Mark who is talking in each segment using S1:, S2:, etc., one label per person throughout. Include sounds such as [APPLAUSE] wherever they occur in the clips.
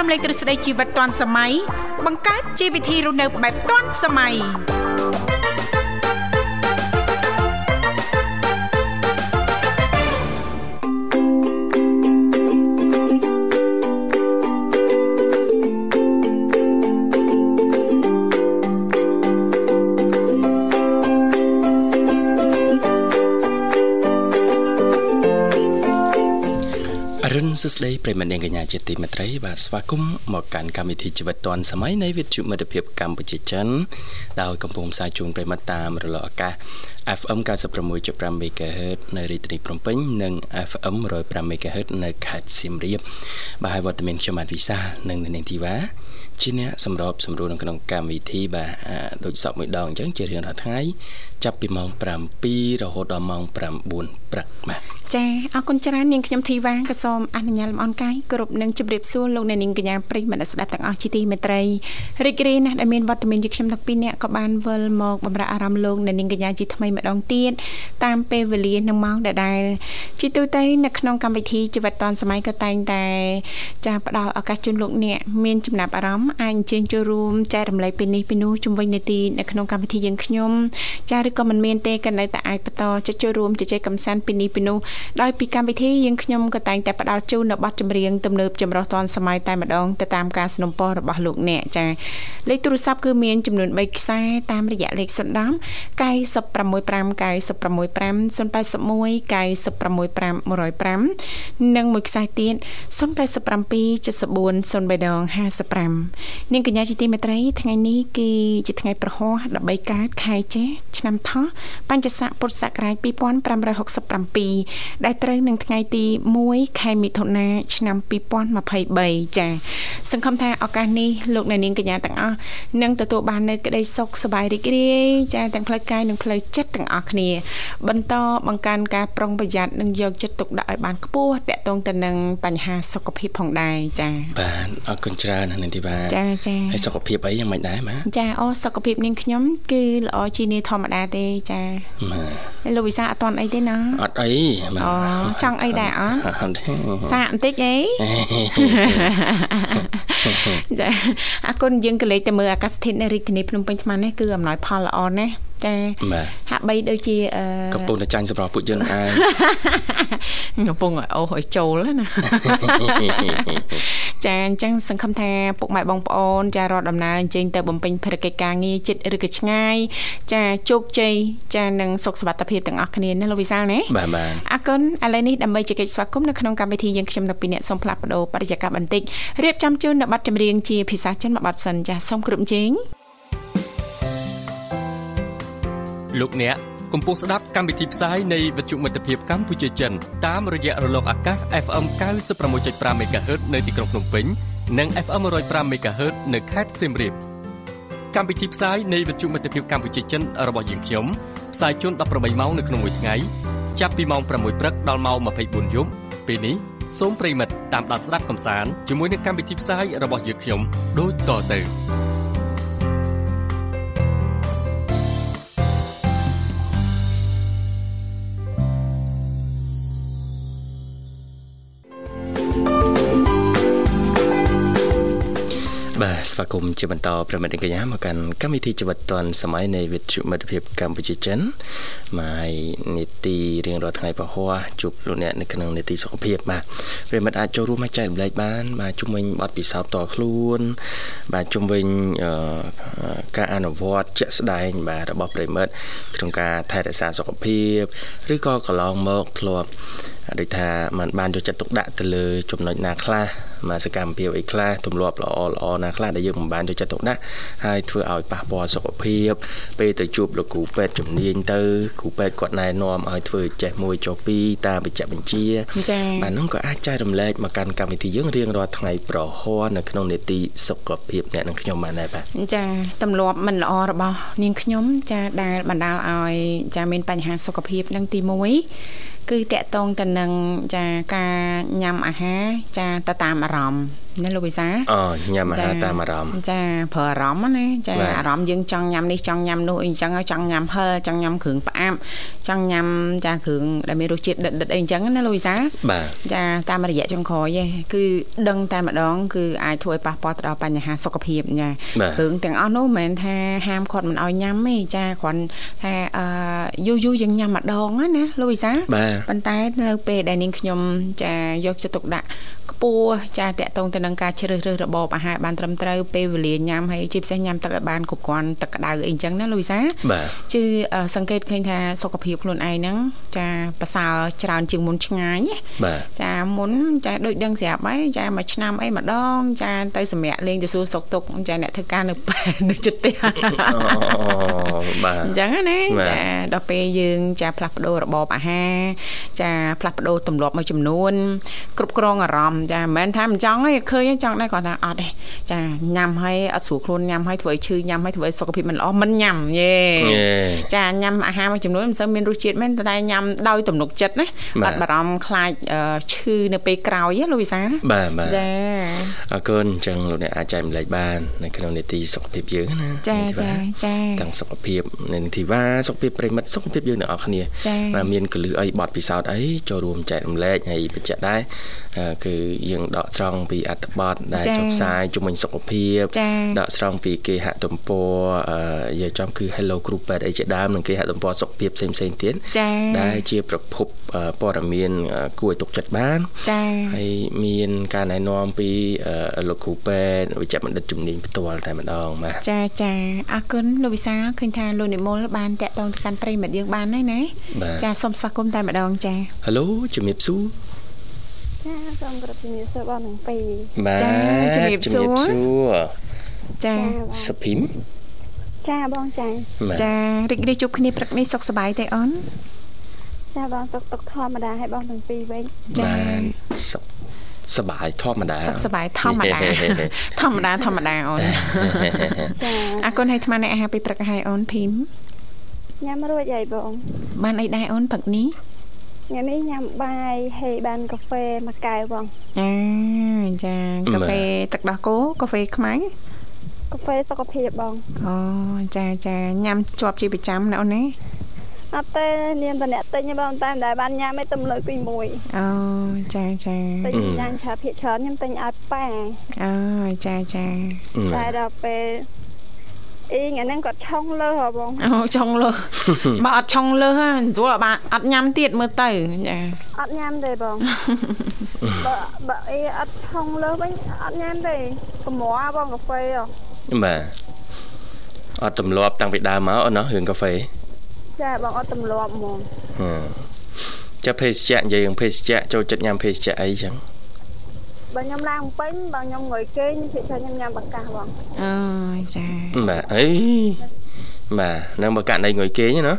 S1: រំលែកទ្រឹស្ដីជីវិតទាន់សម័យបង្កើតជីវវិធីរស់នៅបែបទាន់សម័យ
S2: អរុនសុស្ដីប្រិយមត្តនាងកញ្ញាជាទីមេត្រីបាទស្វាគមន៍មកកាន់កម្មវិធីជីវិតឌွန်សម័យនៃវិទ្យុមិត្តភាពកម្ពុជាចិនដោយកំពុងផ្សាយជូនប្រិយមត្តតាមរលកអាកាស FM 96.5 MHz នៅរាជធានីភ្នំពេញនិង FM 105 MHz នៅខេត្តសៀមរាបបាទហើយវត្តមានខ្ញុំបាទវិសាលនិងនៅនាងធីវ៉ាជាអ្នកសម្របសម្រួលនៅក្នុងកម្មវិធីបាទអាដូចសពមួយដងអញ្ចឹងជារៀងរាល់ថ្ងៃចាប់ពីម៉ោង7រហូតដល់ម៉ោង9ព្រឹកបាទ
S3: ចាអរគុណច្រើននាងខ្ញុំធីវ៉ាក៏សូមអនុញ្ញាតលំអរកាយគ្រប់នឹងជម្រាបសួរលោកអ្នកនាងកញ្ញាប្រិយមិត្តអ្នកស្ដាប់ទាំងអស់ជាទីមេត្រីរីករាយណាស់ដែលមានវត្តមានជាខ្ញុំទាំងពីរនាក់ក៏បានវិលមកបំរើអារម្មណ៍លោកអ្នកនាងកញ្ញាជាថ្មីម្ដងទៀតតាមពេលវេលានិងម៉ោងដដែលជាទូទៅនៅក្នុងកម្មវិធីជីវិតឌွန်សម័យក៏តែងតែចាផ្ដល់ឱកាសជូនលោកអ្នកមានចំណាប់អារម្មណ៍អាចអញ្ជើញចូលរួមចែករំលែកពេលនេះពេលនោះជំវិញនីតិនៅក្នុងកម្មវិធីយើងខ្ញុំចាឬក៏មិនមានទេក៏នៅតែអាចបន្តចុចចូលរួមជជែកកម្សាន្តពេលនេះពេលនោះ ដោយពីកម្មវិធីយើងខ្ញុំក៏តែងតែផ្ដល់ជូននៅប័ណ្ណចម្រៀងទំនើបចម្រោះទាន់សម័យតែម្ដងទៅតាមការสนับสนุนរបស់លោកអ្នកចា៎លេខទូរស័ព្ទគឺមានចំនួន3ខ្សែតាមរយៈលេខសន្តំ965965965081965105និងមួយខ្សែទៀត0977403055នាងកញ្ញាជាទីមេត្រីថ្ងៃនេះគឺជាថ្ងៃប្រហោះ13កើតខែចេសឆ្នាំថោះបัญចស័កពុទ្ធសករាជ2567 ដែលត្រូវនឹងថ្ងៃទី1ខែមិថុនាឆ្នាំ2023ចា៎សង្ឃឹមថាឱកាសនេះលោកអ្នកនាងកញ្ញាទាំងអស់នឹងទទួលបាននូវក្តីសុខសប្បាយរីករាយចា៎ទាំងផ្លូវកាយនិងផ្លូវចិត្តទាំងអស់គ្នា បន្តបង្កើនការប្រុងប្រយ័ត្ននិងយកចិត្តទុកដាក់ឲ្យបានខ្ពស់តាក់ទងទៅនឹងបញ្ហាសុខភាពផងដែរចា៎
S2: បាទអរគុណច្រើនណាស់នាងធីវ៉ា
S3: ចា៎ចា
S2: ហើយ
S3: ៎
S2: សុខភាពអីយ៉ាងម៉េចដែរបាទ
S3: ចាអូសុខភាពនាងខ្ញុំគឺល្អជាងនាងធម្មតាទេចា
S2: បាទ
S3: ហើយលោកវិសាអត់តន់អីទេណា
S2: អត់អីបាទ
S3: អូចង់អីដែរអ
S2: [LAUGHS]
S3: ត់
S2: អត់ទេ
S3: សាកបន្តិច [LAUGHS] អី ចាអរគុណយើងក៏លេចទៅមើលអាកាសធាតុនៅរាជធានីភ្នំពេញថ្មនេះគឺអំណោយផលល្អណាស់ចា
S2: បាទ
S3: ហាក់បីដូចជាអឺ
S2: កំពុងតែចាញ់សម្រាប់ពួកយើងឯ [LAUGHS] ង
S3: កំពុងឲ្យអូសឲ្យចូលហ្នឹងណា [LAUGHS] ចាអញ្ចឹងសង្ឃឹមថាពុកម៉ែបងប្អូនចារត់ដំណើរអញ្ជើញទៅបំពេញភារកិច្ចការងារចិត្តឬក៏ឆ្ងាយចាជោគជ័យចានិងសុខសុវត្ថិភាពទាំងអស់គ្នាណាលោកវិសាលណា
S2: បាទបាទ
S3: អរគុណឥឡូវនេះដើម្បីជែកស្វាគមន៍នៅក្នុងកម្មវិធីយើងខ្ញុំដល់ពីអ្នកសូមផ្លាស់ប្ដូរបរិយាកាសបន្តិចរៀបចំជូននៅប័ណ្ណចម្រៀងជាភាសាចិនមួយប័ណ្ណសិនចាសសូមគ្រប់ជេង
S4: លោកអ្នកកំពុងស្ដាប់កម្មវិធីផ្សាយនៃវិទ្យុមិត្តភាពកម្ពុជាចិនតាមរយៈរលកអាកាស FM 96.5 MHz នៅទីក្រុងភ្នំពេញនិង FM 105 MHz នៅខេត្តសៀមរាបកម្មវិធីផ្សាយនៃវិទ្យុមិត្តភាពកម្ពុជាចិនរបស់យើងខ្ញុំផ្សាយជូន18ម៉ោងនៅក្នុងមួយថ្ងៃចាប់ពីម៉ោង6ព្រឹកដល់ម៉ោង24យប់ពេលនេះសូមប្រិយមិត្តតាមដានស្ដាប់កំសាន្តជាមួយនឹងកម្មវិធីផ្សាយរបស់យើងខ្ញុំដូចតទៅ
S2: បាទស្វាគមន៍ជាបន្តប្រិមិត្តនាងកញ្ញាមកកាន់កម្មវិធីជីវិតឌွန်សម័យនៃវិទ្យុមិត្តភាពកម្ពុជាចិនមកហើយនីតិរៀងរាល់ថ្ងៃពហុជួបលោកអ្នកនៅក្នុងនីតិសុខភាពបាទប្រិមិត្តអាចចូលរួមមកចែករំលែកបានបាទជំវិញបទពិសោធន៍តខ្លួន បាទជំវិញអឺការអនុវត្តជាក់ស្ដែងបាទរបស់ប្រិមិត្តក្នុងការថែរក្សាសុខភាពឬក៏កន្លងមកធ្លាប់ ដូចថាมันបានយកចិត្តទុកដាក់ទៅលើចំណុចណាខ្លះមកសកម្មភាពអីខ្លះទម្លាប់ល្អល្អណាខ្លះដែលយើងមិនបានយកចិត្តទុកដាក់ហើយធ្វើឲ្យប៉ះពាល់សុខភាពពេលទៅជួបលោកគ្រូពេទ្យជំនាញទៅគ្រូពេទ្យគាត់ណែនាំឲ្យធ្វើចេះមួយចុះពីរតាមបច្ចេកបញ្ជា
S3: ចា
S2: បាទនោះក៏អាចចែករំលែកមកកាន់កម្មវិធីយើងរៀងរាល់ថ្ងៃប្រហ័ននៅក្នុងនេតិសុខភាពអ្នកនិងខ្ញុំបានដែរបាទ
S3: ចាទម្លាប់មិនល្អរបស់នាងខ្ញុំចាដែលបណ្ដាលឲ្យចាមានបញ្ហាសុខភាពនឹងទី1គឺតកតងទៅនឹងចាការញ៉ាំអាហារចាទៅតាមអារម្មណ៍ ណាលោកវិសា
S2: អញ៉ាំអាហារតាមអារម្មណ៍
S3: ចាប្រើអារម្មណ៍ណាចា
S2: បាទ
S3: អារម្មណ៍យើងចង់ញ៉ាំនេះចង់ញ៉ាំនោះអីអញ្ចឹងហើយចង់ញ៉ាំហិលចង់ញ៉ាំគ្រឿងផ្អាប់ចង់ញ៉ាំចាគ្រឿងដែលមានរសជាតិដិតដិតៗអីអញ្ចឹងណាលោកវិសា
S2: បាទ
S3: ចាតាមរយៈចុងក្រោយឯងគឺដឹងតែម្ដងគឺអាចធ្វើឲ្យប៉ះពាល់ទៅដល់បញ្ហាសុខភាពចា
S2: បាទ
S3: រឿងទាំងអស់នោះមិនមែនថាហាមគាត់មិនឲ្យញ៉ាំទេចាគ្រាន់ថាអឺយូរយូរយើងញ៉ាំម្ដងហ្នឹងណាលោកវិសា
S2: បាទ
S3: ប៉ុន្តែនៅពេលដែលនាងខ្ញុំចាយកចិត្តទុកដាក់ខ្ពស់ចាតកតងទៅនឹងការជ្រើសរើសរបបអាហារបានត្រឹមត្រូវពេលវេលាញ៉ាំហើយជាពិសេសញ៉ាំទឹកឲ្យបានគ្រប់គ្រាន់ទឹកក្តៅអីអញ្ចឹងណាលោកវិសា
S2: បាទ
S3: ជឺអឺសង្កេតឃើញថាសុខភាពខ្លួនឯងហ្នឹងចាប្រសើរច្រើនជាងមុនឆ្ងាយណា
S2: [LAUGHS] បាទ
S3: ចាមុនចាដូចដឹងស្រាប់ហើយចាមួយឆ្នាំអីម្ដង ចាទៅសម្រាប់លេងទៅសួរសុកទុកចាអ្នកធ្វើការនៅ [LAUGHS] ប៉ែនៅចិត្តផ្ទះ [LAUGHS]
S2: អូបាទ
S3: អញ្ចឹងណា
S2: បាទ
S3: ចាដល់ពេលយើងចាផ្លាស់ប្ដូររបបអាហារចាផ្លាស់ប្ដូរទម្លាប់មួយចំនួន គ្រប់គ្រងអារម្មណ៍ចាមិនមែនថាមិនចង់ទេឃើញទេចង់ដែរគាត់ថាអត់ទេចាញ៉ាំហើយអត់ស្រួលខ្លួនញ៉ាំហើយធ្វើឲ្យឈឺញ៉ាំហើយធ្វើឲ្យសុខភាពមិនល្អមិនញ៉ាំយេ
S2: យេ
S3: ចាញ៉ាំអាហារមួយចំនួនមិនសូវមានរសជាតិមែនប៉ុន្តែញ៉ាំដោយទំនុកចិត្តណា
S2: បា
S3: បា
S2: ទ
S3: ត់បារម្ភខ្លាចអឺឈឺនៅពេលក្រោយណាលោកវិសា
S2: បាទបាទ
S3: ចា
S2: អរគុណអញ្ចឹងលោកអ្នកអាចចែកម្លែកបាននៅក្នុងនីតិសុខភាពយើងណា
S3: ចា
S2: នីតិវ៉ា
S3: ចាចា
S2: ទាំងសុខភាពនៃនីតិវ៉ាសុខភាពប្រិមិត្តសុខភាពយើងទាំងអស់គ្នា
S3: ចា
S2: បាទមានកលឹះអីបត់ពិសោធន៍អីចូលរួមចែករំលែកហើយបញ្ជាក់ដែរអឺគឺយើងដកស្រង់ពីអត្ថបទដែល
S3: ចា
S2: ចុះផ្សាយជំនាញសុខភាព
S3: ចា
S2: ដកស្រង់ពីគេហទំព័រអឺយាយចំគឺ Hello Group 8អីជាដើមនិងគេហទំព័រសុខភាពផ្សេងផ្សេងៗទៀត
S3: ចា
S2: ដែលជាប្រភពអឺព័ត៌មានអឺគួរឲ្យទុកចិត្តបាន
S3: ចា
S2: ហើយមានការណែនាំពីអឺលោកគ្រូពេទ្យវិជ្ជបណ្ឌិតជំនាញផ្ទាល់តែម្ដងបាទ
S3: ចាចាអរគុណលោកវិសាឃើញថាលោកនិមលបានតាក់ទងទៅកាន់ប្រិមិត្តយើងបានហើយណា
S2: បាទ
S3: ចាសូមស្វាគមន៍តែម្ដងចា
S2: ហេឡូជំរាបសួរ
S5: ចាសូមគោរពជំរាបសួរបងទាំងពីរ
S2: បាទ
S3: ចាជំរាបសួរ
S2: ជំរាបសួរ
S3: ចា
S5: ចាបង
S2: សុភីម
S5: ចាបងចា
S2: បាទ
S3: ចារីករាយជួបគ្នាព្រឹកនេះសុខសប្បាយទេអូន
S5: ចាបងទុកទុកធម្មតាឲ្យបងទាំងពីរវិញ
S3: ចា
S2: បាទសុខសប្បាយធម្មតា
S3: សុខសប្បាយធ
S2: [LAUGHS]
S3: ម្មតា ធម្មតាធម្មតាអូន
S5: ចា
S3: អរគុណហើយអាត្មាអ្នកអាហារពេលព្រឹកហើយអូនភីម
S5: ញ៉ាំរួចហើយបង
S3: បានអីដែរអូនផឹកនេះ
S5: ញ៉ាំនេះញ៉ាំបាយហើយបានកាហ្វេមួយកែវបង
S3: ចាចាកាហ្វេទឹកដោះគោកាហ្វេខ្មៅ
S5: កាហ្វេសុខភាពបង
S3: អូចាចាញ៉ាំជាប់ជាប្រចាំណាអូនណា
S5: អត់ទេនាងតំណាក់តិចទេបងតែមិនដែលបានញ៉ាំឯទំលើកទី1
S3: អូចាចា
S5: តិច
S2: អឺ
S5: ញ៉ាំច្រើនភាកច្រើនខ្ញុំទិញឲ្យប៉ា
S3: អូចាចា
S5: តែ
S2: បាទ
S5: ដល់ពេលអីថ្ងៃហ្នឹងគាត់ឆុងលើហ៎បង
S3: អូឆុងលើស បើអត់ឆុងលើសហ่าស្រួលអត់បានអត់ញ៉ាំទៀតមើលទៅចា
S5: អត់ញ៉ាំទេ
S3: [LAUGHS]
S5: បង បើបើអីអត់ឆុងលើវិញអត់ញ៉ាំទេកម្របងកាហ្វេហ៎
S2: បាទអត់ទម្លាប់តាំងពីដើមមកអូនណោះរឿងកាហ្វេ
S5: ចាបងអត់ទម្លាប់ហ្មង
S2: ហឹមចាប់ភេសជ្ជៈនិយាយរឿងភេសជ្ជៈចូលចិត្តញ៉ាំភេសជ្ជៈអីចឹង
S5: បើខ្ញុំឡើងពេញបើខ្ញុំងុយគេងគេថាខ្ញុំញ៉ាំបកាសបង
S3: អូចា
S2: បាទអីបាទនឹងបើករណីងុយគេងណា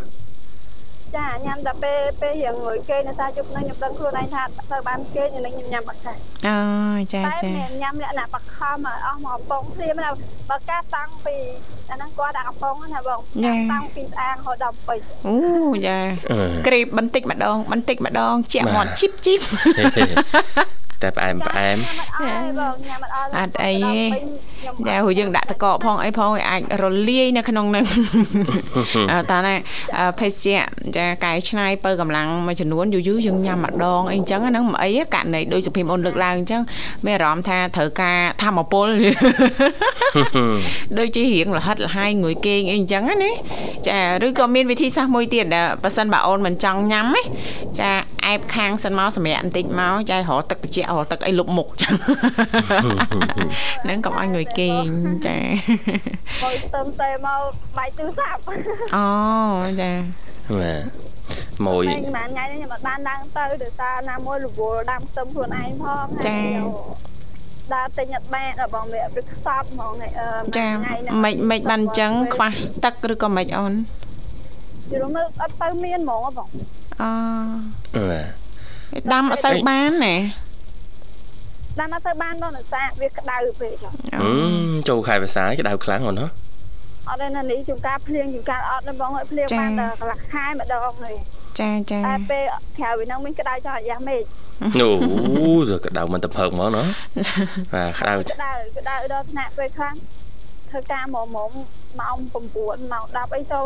S5: ចាញ៉ាំតែពេលពេលរៀងងុយគេងនៅតែយប់ហ្នឹងខ្ញុំដឹងខ្លួនឯងថាទៅបានគេងនៅនេះខ្ញុំញ៉ាំបកាស
S3: អូចា
S5: តែ
S3: ចា
S5: មិនញ៉ាំលក្ខណៈបខំឲ្យអស់មកកំប៉ុងព្រាមណាបកាសតាំងពីអាហ្នឹងគាត់ដាក់កំប៉ុងណាបងតាំងពីស្អាងរហូតដល់ពេញ
S3: អូចា
S2: អឺ
S3: ក្រេបបន្តិចម្ដង បន្តិចម្ដងជាក់មាត់
S2: បាទ
S3: ជីប [LAUGHS] ជីប
S2: [LAUGHS] តែផ្អែមផ្អែម
S5: អត់អីបងញ៉ាំអត់អត់
S3: អត់អីទេតែហូរយើងដាក់តកកផងអីផងឲ្យអាចរលាយនៅក្នុងហ្នឹង អើតាណាអឺភេសជ្ជៈចាកែឆ្នៃពើកម្លាំងមួយចំនួនយូរយូរៗយើងញ៉ាំម្ដងអីអញ្ចឹងអាហ្នឹងមិនអីទេករណីដោយសុភីមអូនលើកឡើងអញ្ចឹងមានអារម្មណ៍ថាត្រូវការធម្មពល [LAUGHS] ដូចជារៀងលហិតលហាយងួយគេងអីអញ្ចឹងណាចាឬក៏មានវិធីសាស្ត្រមួយទៀតដែលប៉ះសិនបើអូនមិនចង់ញ៉ាំណាចាអែបខាងសិនមកសម្រាប់បន្តិចមកចារកទឹកត្រជាក់រកទឹកអីលុបមុខ [LAUGHS] ចឹង ហ្នឹងកុំឲ្យងួយគេង [LAUGHS] ចា
S5: បងស្ទឹមតែមកបាយទូរស័ព្ទ
S3: អូចា
S2: បាទម៉ួ
S5: តែ
S2: យ
S5: ប្រហែលថ្ងៃនេះខ្ញុំអត់បានឡើងទៅដោយសារណាមួយរវល់ដាំស្ទឹមខ្លួនឯងផងដើរទិញអត់បានដល់បងវាវាខ្សត់ហ្មងអឺ
S3: ចាមិនមិនបានអញ្ចឹងខ្វះទឹកឬក៏មិនអូន
S5: យល់មើលអត់ទៅមានហ្មងបង
S3: អូ
S2: បាទ
S3: ដាំអត់សូវបានណា
S5: ដាំអត់ទៅបានបងដោយសារវាក្តៅពេក
S2: ហឹមចូលខែភាសាក្តៅខ្លាំងអូនហ៎
S5: អត់ទេណានេះជួនកាលភ្លៀងជួនកាលអត់ណាបងឲ្យភ្លៀងបានដល់កន្លះខែម្ដងហើយ
S3: ចាចា
S5: តែពេលក្រៅពីហ្នឹងវិញក្តៅចង់អាយ៉ាស់មេឃ
S2: អូទៅក្តៅមិនទៅផឹកមកណាបាទក្តៅ [LAUGHS]
S5: [LAUGHS] ក្តៅក្តៅដល់ថ្នាក់ពេលខ្លះធ្វើការមុំមុំម៉ោង9ម៉ោង10អីចូល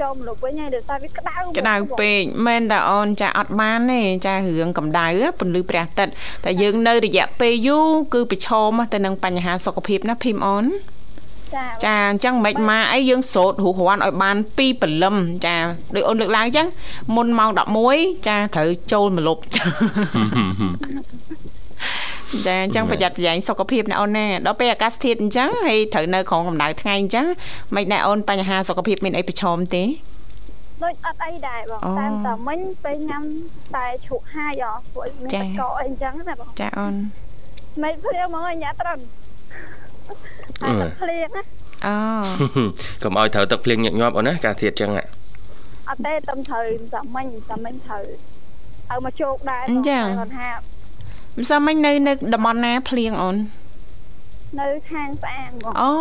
S5: ចូលមកលុបវិញហើយដោយសារវាក្តៅ
S3: ក្តៅពេកមែនតាអូនចាអត់បានទេចារឿងកម្ដៅហ៎ពន្លឺព្រះអាទិត្យតែយើងនៅរយៈពេលយូរគឺប្រឈមទៅនឹងបញ្ហាសុខភាពណាភីមអូន
S5: ចា
S3: ចាអញ្ចឹងមិនម៉ាអីយើងស្រោតរូបរាន់ឲ្យបានពីព្រលឹមចាដូចអូនលើកឡើងអញ្ចឹងមុនម៉ោង11ចាត្រូវចូលមកលប់ [LAUGHS] ចាអញ្ចឹងប្រយ័ត្នប្រយែងសុខភាពណាអូនណាដល់ពេលអាកាសធាតុអញ្ចឹងហើយត្រូវនៅក្រោមកម្ដៅថ្ងៃអញ្ចឹងមិនដែរអូនបញ្ហាសុខភាពមានអីប្រឈមទេ
S5: ដូចអត់អីដែរបង
S3: អូ
S5: តាមតែមិញពេលញ៉ាំតែជ្រូកហាយអស់ពួកមាន
S3: ចា
S5: តកកអីអញ្ចឹងណាបង
S3: ចាអូន
S5: មិនព្រាមមកញ៉ាត្រឹមតែទឹកភ្លៀងណា
S3: អូ
S2: កុំឲ្យត្រូវទឹកភ្លៀងញឹកញាប់អូនណាការធាតចឹង [LAUGHS] ហ่ะ
S5: អត់ទេតំត្រូវតែមិញតែមិញត្រូវឲ្យមកជោគដែរ
S3: អញ្ចឹង
S5: តែគាត់ថា
S3: មិនសមមិញនៅនៅតំបន់ណាភ្លៀងអូន
S5: នៅខាងស្អាងបង
S3: អូ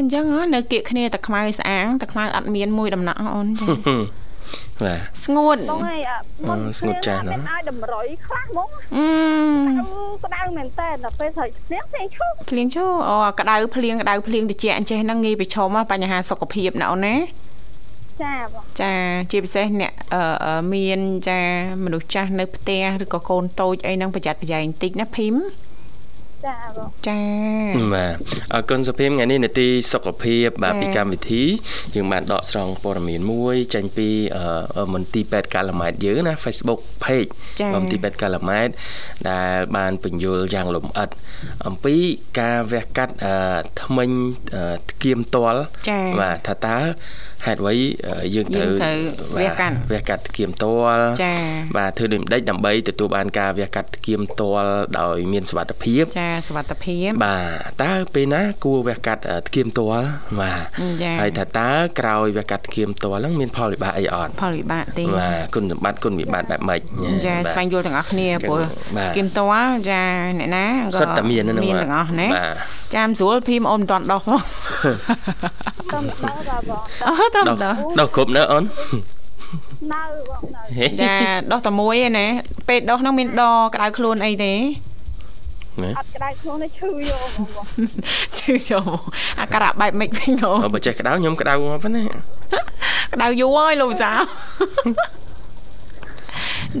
S3: អញ្ចឹងហ៎នៅគៀកគ្នាតែខ្មៅស្អាងតែខ្មៅអត់មានមួយដំណក់អូនចា
S2: បាទ
S3: ស្ងួត
S5: បងឯងមុន
S2: អឺស្ងួតចាស់ណាស់
S5: មានឲ្យតម្រុយខ្លះហ្មង
S3: អឺ
S5: ក្តៅមែនតើដល់ពេលត្រូវភ្លៀងភ្លៀងឈូក
S3: ភ្លៀងជូអូក្តៅភ្លៀងក្តៅភ្លៀងតិចអញ្ចេះហ្នឹងងាយប្រឈមហ៎បញ្ហាសុខភាពណាអូនណា
S5: ចាបង
S3: ចាជាពិសេសអ្នកអឺអឺមានចាមនុស្សចាស់នៅផ្ទះឬក៏កូនតូចអីហ្នឹងប្រយ័ត្នប្រយែងតិចណាភីម
S5: ចាបង
S3: ចា
S2: បាទអរគុណសុភីមថ្ងៃនេះនេតិសុខភាពបាទពីកម្មវិធីយើងបានដកស្រង់ព័ត៌មានមួយចេញពីអឺមន្ទីរពេទ្យកាឡាម៉ែតយើងណា Facebook page របស់មន្ទីរពេទ្យកាឡាម៉ែតដែលបានបញ្យលយ៉ាងលម្អិតអំពីការវះកាត់អឺធ្មេញអឺធ្គាមតល
S3: ចា
S2: បាទថាតើហេតុអ្វីអឺយើង
S3: យើង
S2: ត្រូវ
S3: ត្រូវវះកាត់
S2: បាទវះកាត់ធ្គាមតល
S3: ចា
S2: បាទធ្វើដូចម្ដេចដើម្បីទទួលបានការវះកាត់ធ្គាមតលដោយមានសុវត្ថិភាព
S3: ចាសុខភាព
S2: បាទតើពេលណាគួរវះកាត់អឺធ្គាមតលបាទ
S3: ចា៎
S2: ហើយថាតើក្រោយវះកាត់ធ្គាមតលហ្នឹងមានផលវិបាកអីអត់
S3: ផលវិបាកទេ
S2: បាទគុណសម្បត្តិគុណវិបត្តិបែបម៉េច
S3: ចា
S2: បាទ
S3: ស្វែងយល់ទាំងអស់គ្នាព្រោះ
S2: បាទ
S3: គឹមតលចាអ្នកណាក៏
S2: សុទ្ធតែមានហ្នឹង
S3: មានទាំងអស់ណា
S2: បាទ
S3: ចាំស្រួលភីមអូនមិនតាន់ដោះ [LAUGHS] ផង
S5: តំដល់បាទបង
S3: អូតាំ
S2: ដោះ
S3: ដោះ
S2: ដោះគ្រប់ណាអូន
S5: នៅបងនៅ
S2: ហេ
S3: ចាដោះតែមួយឯណាពេលដោះហ្នឹងមានដក្តៅខ្លួនអីទេ
S2: ណា
S5: អត់ក្តៅខ្លួនទេឈឺយកហ្មងបង
S3: ជឿយកអាការៈបែបមិនវិញអូ
S2: អើបើចេះក្តៅខ្ញុំក្តៅមកប៉ុណ្ណា
S3: ក្តៅយូរហើយលោកវិសាល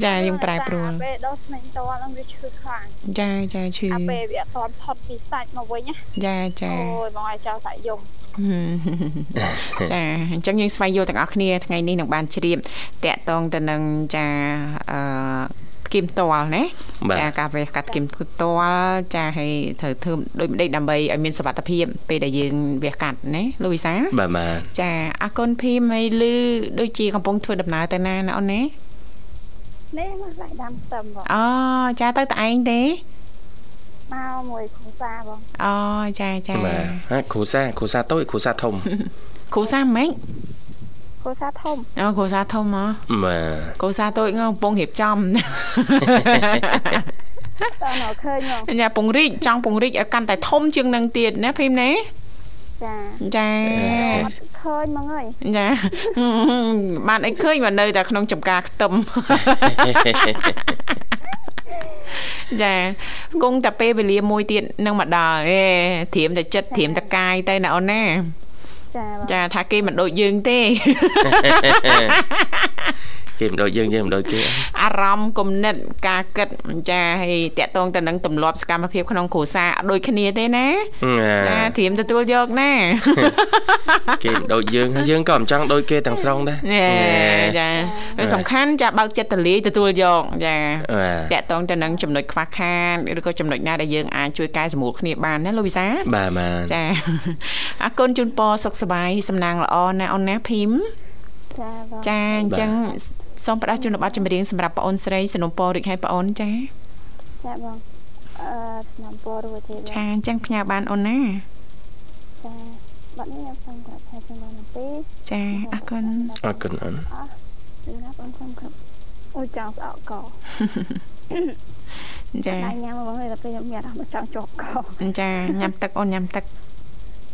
S3: ចាខ្ញុំប្រែប្រួល
S5: តែពេលដុសស្នាញ់តលហ្នឹងវាឈឺខ្លាំង
S3: ចាចាឈឺ
S5: អាពេលវាអត់ទាន់ផុតពីសាច់មកវិញណា
S3: ចាចា
S5: អូយបងឲ្យចោលសាក់យំ
S3: ហឹមចាអញ្ចឹងយើងស្វែងយល់ទាំងអស់គ្នាថ្ងៃនេះនឹងបានជ្រាបតកតងទៅនឹងចាអឺគីមតលណាចាការវះកាត់គីមតលចាហើយត្រូវធ្វើដូចម្ដេចដើម្បីឲ្យមានសុវត្ថិភាពពេលដែលយើងវះកាត់ណាលោកវិសាល
S2: បាទបាទ
S3: ចាអរគុណភីមហើយលឺដូចជាកំពុងធ្វើដំណើរទៅណាណាអូនណា
S5: នេះមកដាក់ដាំខ្ទឹមបង
S3: អូចាទៅតឯងទេ
S5: មកមួយគ្រួសារបង
S3: អូចាចា
S2: បាទហាគ្រូសាគ្រូសាតូចគ្រូសាធំ
S3: គ្រូសាហ្មេច
S5: គ្រួសារធំ
S3: អូគ្រូសាធំហ៎
S2: បាទ
S3: គ្រូសាតូចងកំពុងរៀប [LAUGHS] ចំ
S5: តើមកឃើញបង
S3: ញ៉ាពងរីកចង់ពងរីកឲ្យកាន់តែធំជាងនឹងទៀតណាភីមណាចា
S5: ចាអត់ឃើញហ្មងអើយ
S3: ចា [LAUGHS] បានអីឃើញមកនៅតែក្នុងចំការខ្ទឹម [LAUGHS] ចាគង់តែពេលវេលាមួយទៀតនឹងមកដល់អេធรียมតែចិត្តធรียมតែកាយទៅណាអូនណា
S5: ចាបង
S3: ចាថាគេមិនដូចយើងទេ [LAUGHS]
S2: គេមិនដូចយើងយើងមិនដូចគេ
S3: អារម្មណ៍គំនិតការគិតចាហើយតកតងទៅនឹងទម្លាប់សកម្មភាពក្នុងគ្រួសារអត់ដូចគ្នាទេណា
S2: ណា
S3: ចាធรียมទទួលយកណា
S2: គេមិនដូចយើងហើយយើងក៏មិនចង់ដូចគេទាំងស្រុងដែរ
S3: ណែចាហើយសំខាន់ចាបើកចិត្តទលាយទទួលយកចា
S2: បា
S3: ត
S2: ទ
S3: កតងទៅនឹងចំណុចខ្វះខាតឬក៏ចំណុចណាដែលយើងអាចជួយកែសម្រួលគ្នាបានណាលោកវិសា
S2: បាទបាទ
S3: ចាអរគុណជូនពរសុខសប្បាយសំណាងល្អណាអូនណាភីម
S5: ចាបង
S3: ចាអញ្ចឹងសូមផ្ដល់ជូនប័ណ្ណចម្រៀងសម្រាប់បងអូនស្រីសនុំពររួចហើយបងអូនចា
S5: ចាបងអឺឆ្នាំពររួចទេបង
S3: ចាអញ្ចឹងផ្ញើបានអូនណា
S5: ចាបាត់នេះខ្ញុំសូមគាត់ថាជាងបានទី
S3: ចាអរគុណ [LAUGHS]
S2: អរគុណអូន
S5: សម្រាប់អូនសូមគ្រប់អូយចង់ស្អកក
S2: [LAUGHS]
S3: ចា
S5: តែញ៉ាំបងតែពេលខ្ញុំមានអារម្មណ៍ចង់ជាប់ក
S3: ចាញ៉ាំទឹកអូនញ៉ាំទឹក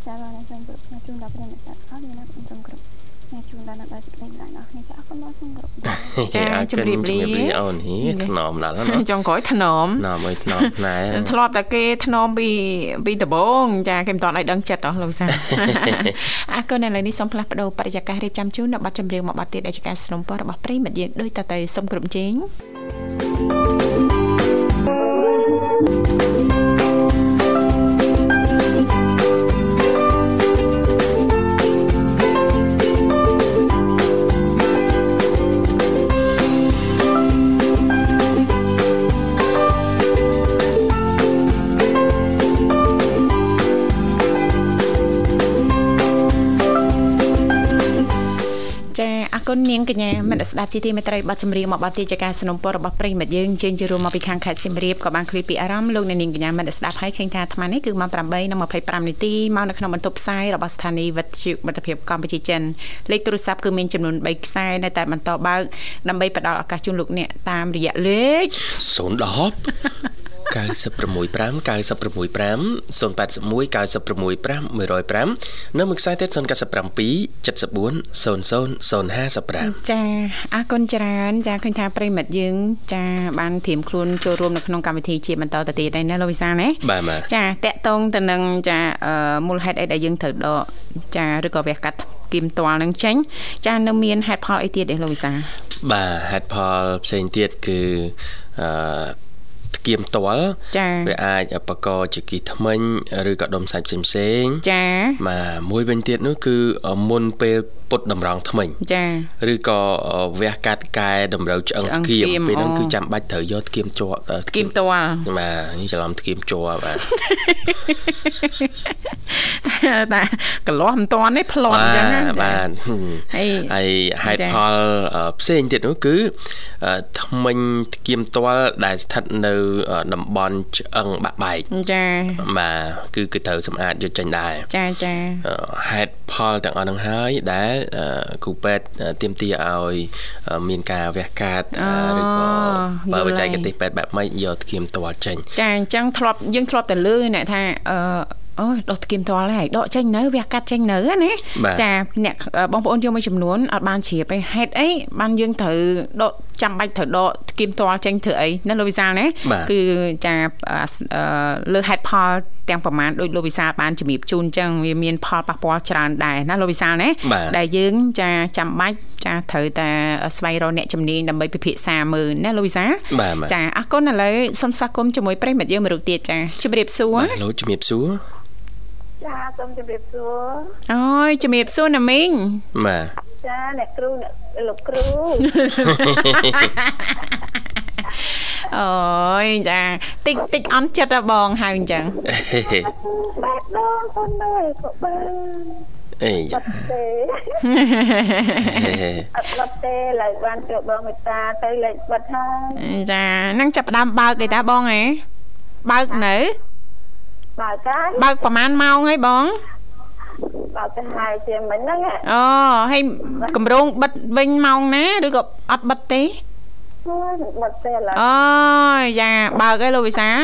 S5: ចាបងខ្ញុំសូមគ្រប់ខ្ញុំជូនដល់ព្រះមិត្តអរខ្ញុំសូមគ្រប់ ខ្ញុំជូនដល់អ្នកដែលស្ដីម្ដងអស់គ្នាចាអរគុណបងសូមគោរព
S3: ចា៎
S2: អរគុណ
S3: ជម្រាបលា
S2: ជម្រាបលាអូនហីថ្នមដល់
S3: [LAUGHS]
S2: ហ្នឹង
S3: ចង់ក្រោយធ្នម
S2: ណាមអើយ [LAUGHS] ថ្នមណែ
S3: [LAUGHS] ធ្លាប់តែគេធ្នមពីពីដបងចាគេមិនតន់ឲ្យដឹងចិត្តអស់លោកសា អរគុណឥឡូវនេះសូមផ្លាស់ប្ដូរបរិយាកាសរៀបចំជូននៅប័ណ្ណចម្រៀងមួយប័ណ្ណទៀតដែលជាការสนับสนุนរបស់ប្រិយមិត្តយើងដូចតទៅសូមក្រុមជេង ចាអរគុណនាងកញ្ញាមិត្តស្ដាប់ជីទីមេត្រីបទចម្រៀងមកបទទីជាការสนับสนุនរបស់ប្រិយមិត្តយើងជើងជារួមមកពីខាងខេត្តសៀមរាបក៏បានឃ្លាតពីអារម្មណ៍លោកអ្នកនាងកញ្ញាមិត្តស្ដាប់ហើយឃើញថាអាត្មានេះគឺម៉ោង8:25នាទីមកនៅក្នុងបន្ទប់ផ្សាយរបស់ស្ថានីយ៍វិទ្យុមិត្តភាពកម្ពុជាចិនលេខទូរស័ព្ទគឺមានចំនួន3ខ្សែនៅតែបន្តបើកដើម្បីផ្ដល់ឱកាសជូនលោកអ្នកតាមរយៈលេខ
S2: 010 965 965 081 965 105នៅមួយខ្សែទៀត097 74 00 055
S3: ចាអរគុណច្រើនចាឃើញថាប្រិមិត្តយើង ចាបានធៀមខ្លួនចូលរួមនៅក្នុងកម្មវិធីជាបន្តទៅទៀតហើយណាលោកវិសាលណា
S2: បាទបាទ
S3: ចាតកតងទៅនឹងចាអឺមូលហេតុអីដែលយើងត្រូវដកចាឬក៏វះកាត់គីមតលនឹងចេញចានៅមានហេតុផលអីទៀតទេលោកវិសាល
S2: បាទហេតុផលផ្សេងទៀតគឺអឺស្គៀមតល
S3: ចា
S2: វាអាចបកកជាគីថ្មិញឬក៏ដុំសាច់ផ្សេងៗ
S3: ចា
S2: បាទមួយវិញទៀតនោះគឺមុនពេលពុតតម្រង់ថ្មិញ
S3: ចា
S2: ឬក៏វះកាត់កែតម្រូវឆ្អឹង
S3: ឆ្អឹង
S2: គៀម
S3: ថ្គាម
S2: ពេលហ្នឹង
S3: អូ
S2: គឺចាំបាច់ត្រូវយកថ្គាមជាប់
S3: គីមតល [LAUGHS]
S2: បាទនេះច្រឡំថ្គាមជាប់បាទ
S3: តែកន្លោះមិនតន់ទេផ្លន់អញ្ចឹងណា
S2: បាទបាទ [LAUGHS]
S3: ហើយ
S2: ហើយហេតុ
S3: ចា៎
S2: ផលអឺផ្សេងទៀតនោះគឺអឺថ្មិញថ្គាមតលដែលស្ថិតនៅអឺតំបន់ឆ្អឹងបាក់បែក
S3: ចា
S2: បាទគឺគឺត្រូវសម្អាតយកចេញដែរ
S3: ចាចា
S2: អឺហេតុផលទាំងអស់ហ្នឹងហើយដែលអឺគ្រូពេទ្យអឺទៀមទាឲ្យអឺមានការវះកាតអឺឬក៏បើបច្ចេកទេសពេទ្យបែបម៉េចយកថ្គាមតលចេញ
S3: ចាអញ្ចឹងធ្លាប់យើងធ្លាប់តែលើអ្នកថាអឺអូយដកស្គីមតលហើយដកចេញនៅវះកាត់ចេញនៅហ៎ណា
S2: បាទ
S3: ចាអ្នកអឺបងប្អូនយើងមួយចំនួនអត់បានជ្រាបឯងហេតុអីបានយើងត្រូវដកចាំបាច់ត្រូវដកស្គីមតលចេញធ្វើអីណាលោកវិសាលណា
S2: បាទ
S3: គឺចាអឺអឺលើហេតុផលទាំងប្រមាណដូចលោកវិសាលបានជំរាបជូនអញ្ចឹងវាមានផលប៉ះពាល់ច្រើនដែរណាលោកវិសាលណា
S2: បាទ
S3: ដែលយើងចាចាំបាច់ចាត្រូវតែស្វែងរកអ្នកជំនាញដើម្បីពិភាក្សាមើលណាលោកវិសាល
S2: បាទបាទ
S3: ចាអរគុណឥឡូវសូមស្វាគមន៍ជាមួយប្រិយមិត្តយើងមួយរូបទៀតចាជំរាបសួរ
S2: បាទលោកជំរាបសួរ
S5: ចាសូមជម្រាបសួរ
S3: អូយជំរាបសួរណា
S2: [LAUGHS]
S3: មីង
S2: បាទ
S5: ចាអ្នកគ្រូអ្នកលោកគ្រូ
S3: អូយចាតិចតិចអន់ចិត្តហ៎បងហៅអញ្ចឹង
S2: [LAUGHS] ហេហេ
S5: បែបដងអូនអើយក៏បាន
S2: អេ
S5: អត់ទេ
S2: ហេហេ [LAUGHS]
S5: អត់បាត់ទេឡើយបានជួបបងមេត្តាទៅលេខបាត់ហើយ
S3: ចានឹងចាប់ផ្ដើមបើកអីតាបងហ៎បើកនៅ
S5: បើកាយ
S3: បើកប្រហែលម៉ោងហីបង
S5: បើទៅហើយជាមិញហ្នឹងណា
S3: អូហើយកម្រងបិទវិញម៉ោងណាឬក៏អត់បិទទេ
S5: អូយបាត់ទេឡើយ
S3: អូយចាបើកហីលោកវិ
S2: [LAUGHS]
S3: សា [LAUGHS]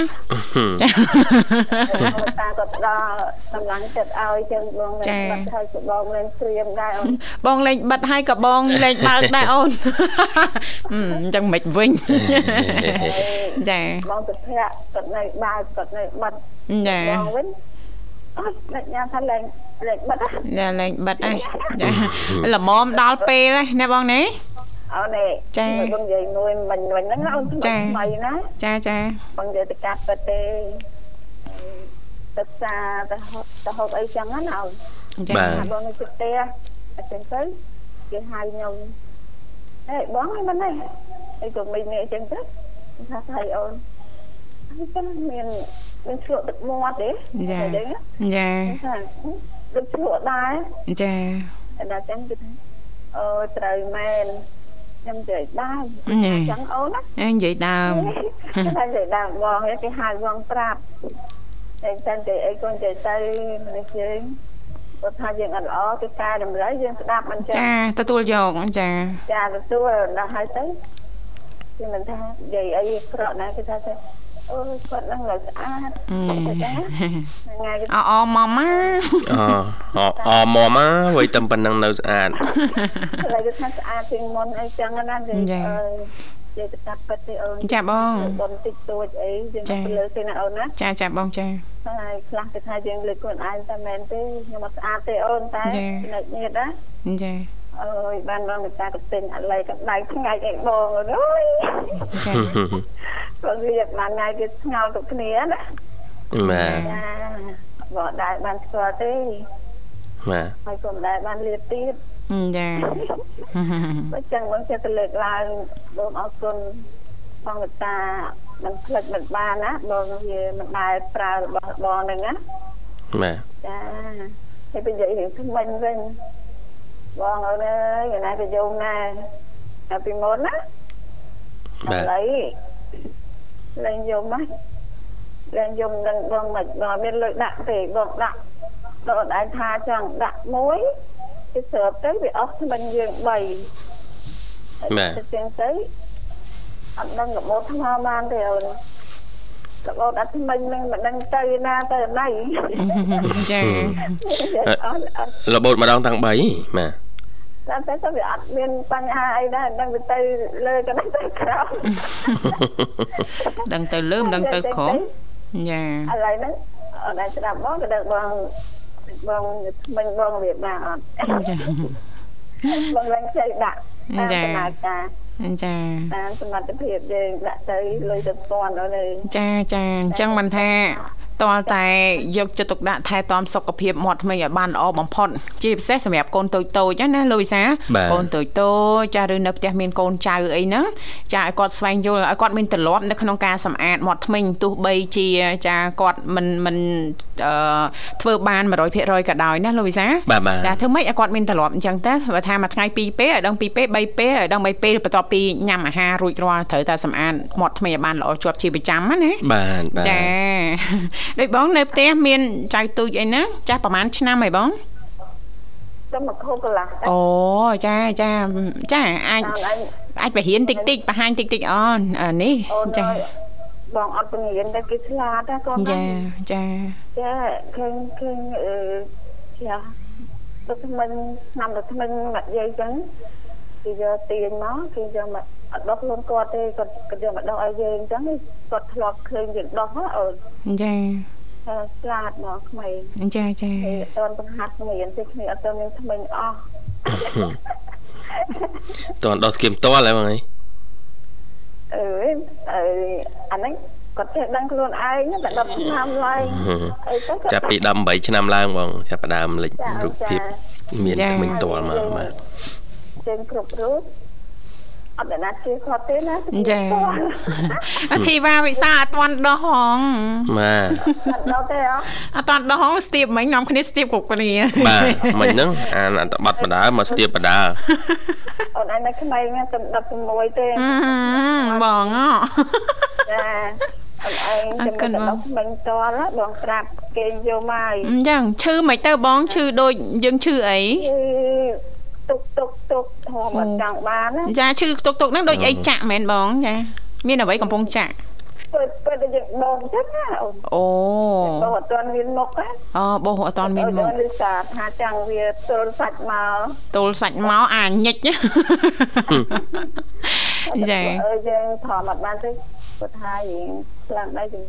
S3: ល
S5: បងមេត្តាក៏ផ្ដល់កម្លាំងចិត្តឲ្យជាងបងលេ
S3: ចា
S5: ខបាត់ហើយក៏បងលេខស្រៀមដែរអូន
S3: បងលេងបិទហើយក៏បងលេងបើកដែរអូន [LAUGHS] អឺអញ្ចឹងមិនវិញ [LAUGHS] ចា
S5: បងសុភ័ក្រគាត់នៅបើកគាត់នៅបាត់
S3: ចា
S5: បងវិញអត់អ្នកញ៉ាំថាលេខលេខបាត់ណា
S3: ដល់លេងបិទហើយចា
S2: [LAUGHS]
S3: ល្មមដល់ពេលហើយណាបងណា
S5: អូននេះ
S3: ចា
S5: មើលបងនិយាយមួយមិញមិញហ្នឹងណាអូនថ្
S3: ចា
S5: មីថ្មីណា
S3: ចាចា
S5: បងនិយាយទៅកាត់ទៅទេសិក្សាទៅហូបទៅហូបអីចឹងណាអូន
S3: ចា
S2: បាទ
S5: ថាបងនៅជិតផ្ទះអញ្ចឹងទៅគេហៅខ្ញុំហេបងឯងមិនឯងអីក៏មិននេះអញ្ចឹងទៅខ្ញុំថាថៃអូនអញ្ចឹងមានមានឆ្លក់ទឹកមាត់ទេ
S3: ចា
S5: អញ្ចឹង
S3: ចា
S5: ណាថាដូចព្រោះដែរ
S3: ចា
S5: តែដល់ចឹងគឺថាអូត្រូវមែនខ្ញុំនិយាយដែរ
S3: ញ៉ែ
S5: ចឹងអូនណា
S3: អេនិយាយដើម
S5: [LAUGHS] ខ្ញុំថានិយាយដែរបងគេហៅបងប្រាប់តែចឹងនិយាយអីក៏និយាយទៅមនុស្សយើងគាត់ថាយើងអត់ល្អគេកែតម្រូវយើងស្ដាប់មិនចឹង
S3: ចាទទួលយកចា
S5: ចាទទួលដល់ហើយទៅគេមិនថានិយាយអីក្រក់ណាគេថាទៅ អូយគាត់នឹងលើស្អាត
S3: [LAUGHS]
S5: ទៅចាថ្ងៃយប់
S1: អអម៉ម៉ា
S2: អអអមមកវ័យតែប៉ុណ្ណឹងនៅស្អាត [LAUGHS]
S5: ឡើយគាត់ថាស្អាតជាងមុនអីចឹងណានិយាយអើយនិយាយទៅតាមពិតទេអូន
S3: ចាបង
S5: បងតិចតួចអីយើងទៅលើទេណាអូនណា
S3: ចាចាបងចា
S5: ហើយខ្លះគេថាយើងលើខ្លួនឯងតែមែនទេខ្ញុំអត់ស្អាតទេអូនតែ
S3: ចា
S5: ចំណុចនេះណា
S3: ចា
S5: អើយបានរងកតាកទិញអល័យកម្ដៅថ្ងៃឯងបងអើយ
S3: ចា
S5: បងរៀបបានថ្ងៃគេស្ងោរទៅគ្នាណា
S2: បាទ
S5: ចាបងដែរបានស្គាល់ទេ
S2: បាទ
S5: ហើយក៏មិនដែរបានលៀបទៀត
S3: ចា
S5: បើចឹងបងចិត្តទៅលើកឡើងបងអរគុណបងកតាមិនផ្លិចមិនបានណាបងវាមិនដែរប្រើរបស់បងហ្នឹងណា
S2: បាទ
S5: ចាហើយបើនិយាយរឿងថ្មិញវិញបងអូនអើយឯណាទៅយងណាតែពីមុនណា
S2: បាទ
S5: ឡើយលែងយំហ៎លែងយំនឹងបងមិនបងមានលុយដាក់ទេបងដាក់ដល់ឯងថាចង់ដាក់មួយគេស្រាប់ទៅវាអស់ថ្មិញយើង3បាទ
S2: បាទ
S5: ទៅចឹងទៅអត់ដឹងរបូតថ្មបានទេអូនរបូតអត់ថ្មិញនឹងមិនដឹងទៅណាទៅណៃ
S3: [LAUGHS] ចា
S5: អត់អត់
S2: របូតម្ដងទាំង3បាទ [LAUGHS]
S5: តែតែទៅវាអត់មានបញ្ហាអីដែរដឹងវាទៅលើកណ្ដាលទៅក្រោម
S1: ដឹងទៅលើមិនដឹងទៅក្រោមយ៉ា
S5: ឥឡូវហ្នឹងអត់ដែរស្ដាប់បងក៏ដឹងបងបងមិញបងរៀបណាអត់បងឡើងខ្ចីដាក់តាមដំណើរការ
S3: ចា
S5: តាមសមត្ថភាពយើងដាក់ទៅលុយទៅពាន់ដល់លើ
S3: ចាចាអញ្ចឹងមិនថាតលតែយកចិត្តទុកដាក់ថែទាំសុខភាពមាត់ថ្មីឲ្យបានល្អបំផុតជាពិសេសសម្រាប់កូនតូចតូចណាលោកវិសាកូនតូចតូចចាឬនៅផ្ទះមានកូនចៅអីហ្នឹងចាឲ្យគាត់ស្វែងយល់ឲ្យគាត់មានទម្លាប់នៅក្នុងការសម្អាតមាត់ថ្មីទោះបីជាចាគាត់មិនមិនធ្វើបាន100%ក៏ដោយណាលោកវិសា
S2: បាទបាទ
S3: ចាធ្វើម៉េចឲ្យគាត់មានទ្រព្យអញ្ចឹងទៅបើថាមួយថ្ងៃ2ពេលឲ្យដឹង2ពេល3ពេលឲ្យដឹង3ពេលបន្ទាប់ពីញ៉ាំអាហាររួចរាល់ត្រូវតែសម្អាតមាត់ថ្មីឲ្យបានល្អជាប់ជាប្រចាំណាណា
S2: បាទបាទ
S3: ចាដូចបងនៅផ្ទះមានចៅទូចអីហ្នឹងចាស់ប្រហែលឆ្នាំហើយបង
S5: ទៅមកខូកន្លះ
S3: អូចាចាចាអាច
S5: តាមអញ
S3: អាចបរិហានតិចតិចបង្ហាញតិចតិចអូនអឺនេះ
S5: អូន
S3: ចា
S5: ឲ្យបងអត់ពង្រៀនតែគេឆ្លាតណាកូន
S3: ចា
S5: ណា
S3: ចា
S5: ចាឃើញឃើញអឺចាទៅថ្មិញឆ្នាំទៅថ្មិញមកយាយចឹងគេយកទាញមកគេយកមកអត់ដោះខ្លួនគាត់ទេគាត់គាត់យកមកដោះឲ្យយើងចឹងគាត់ធ្លាប់ឃើញយើងដោះណាអូន
S3: ចា
S5: តែស្លាតមកក្មេង
S3: ចាចា
S5: គេអត់ទាន់បង្ហាត់គ្នាទេគ្នាអត់ទាន់មានក្មេងអស់
S2: តន់ដោះស្គីមតលហើយបងអី
S5: អើយអើយអាហ្នឹងគាត់ចេះដឹងខ្លួនឯងណាតែដល់ឆ្នាំឡើយអីទៅគាត់
S2: ចាប់ពី18ឆ្នាំឡើងបងចាប់ផ្ដើមលេចរូបភាពមានថ្មិញតលមកបាទ
S5: ចេញគ្រប់រូបអត់ដែលណាជឿគាត់ទេណា
S3: ចាអធីវ៉ាវិសាអត់ទាន់ដោះហង
S2: បាទ
S5: គាត់ដល់ទេអ
S3: អត់
S5: ត់
S3: តាន់ដោះហងស្ទាបមិញនាំគ្នាស្ទាបគ្រប់គ្នា
S2: បាទមិញហ្នឹងអានអត្តបទបដាមកស្ទាបបដា
S5: អូនឯងនៅក្មេងណាតែ16ទេ
S3: អឺបងអ
S5: ចាអូនឯងចាំតែដល់ក្មេងតលណាបងប្រាប់គេយកមកហើយ
S3: អញ្ចឹងឈឺមិនទៅបងឈឺដូចយើងឈឺអី
S5: គឺទុកទុកទុកធំអត់ចង់បានណា
S3: ចាឈឺទុកទុកហ្នឹងដូចអីចាក់មែនបងចាមានអ្វីកំពុងចាក់
S5: ពិតពិតតែយើងបងចឹងណាអូន
S3: អូ
S5: បងអត់ទាន់មានមុខណា
S3: អូបោះអត់តាន់មានមក
S5: លឺសារថាចង់វាទល់សាច់មក
S3: ទល់សាច់មកអាញិ
S2: [LAUGHS]
S3: ច ចា
S5: អើយើងធំអត់បានទេគាត់ថារៀងខ្លាំងដែរជំ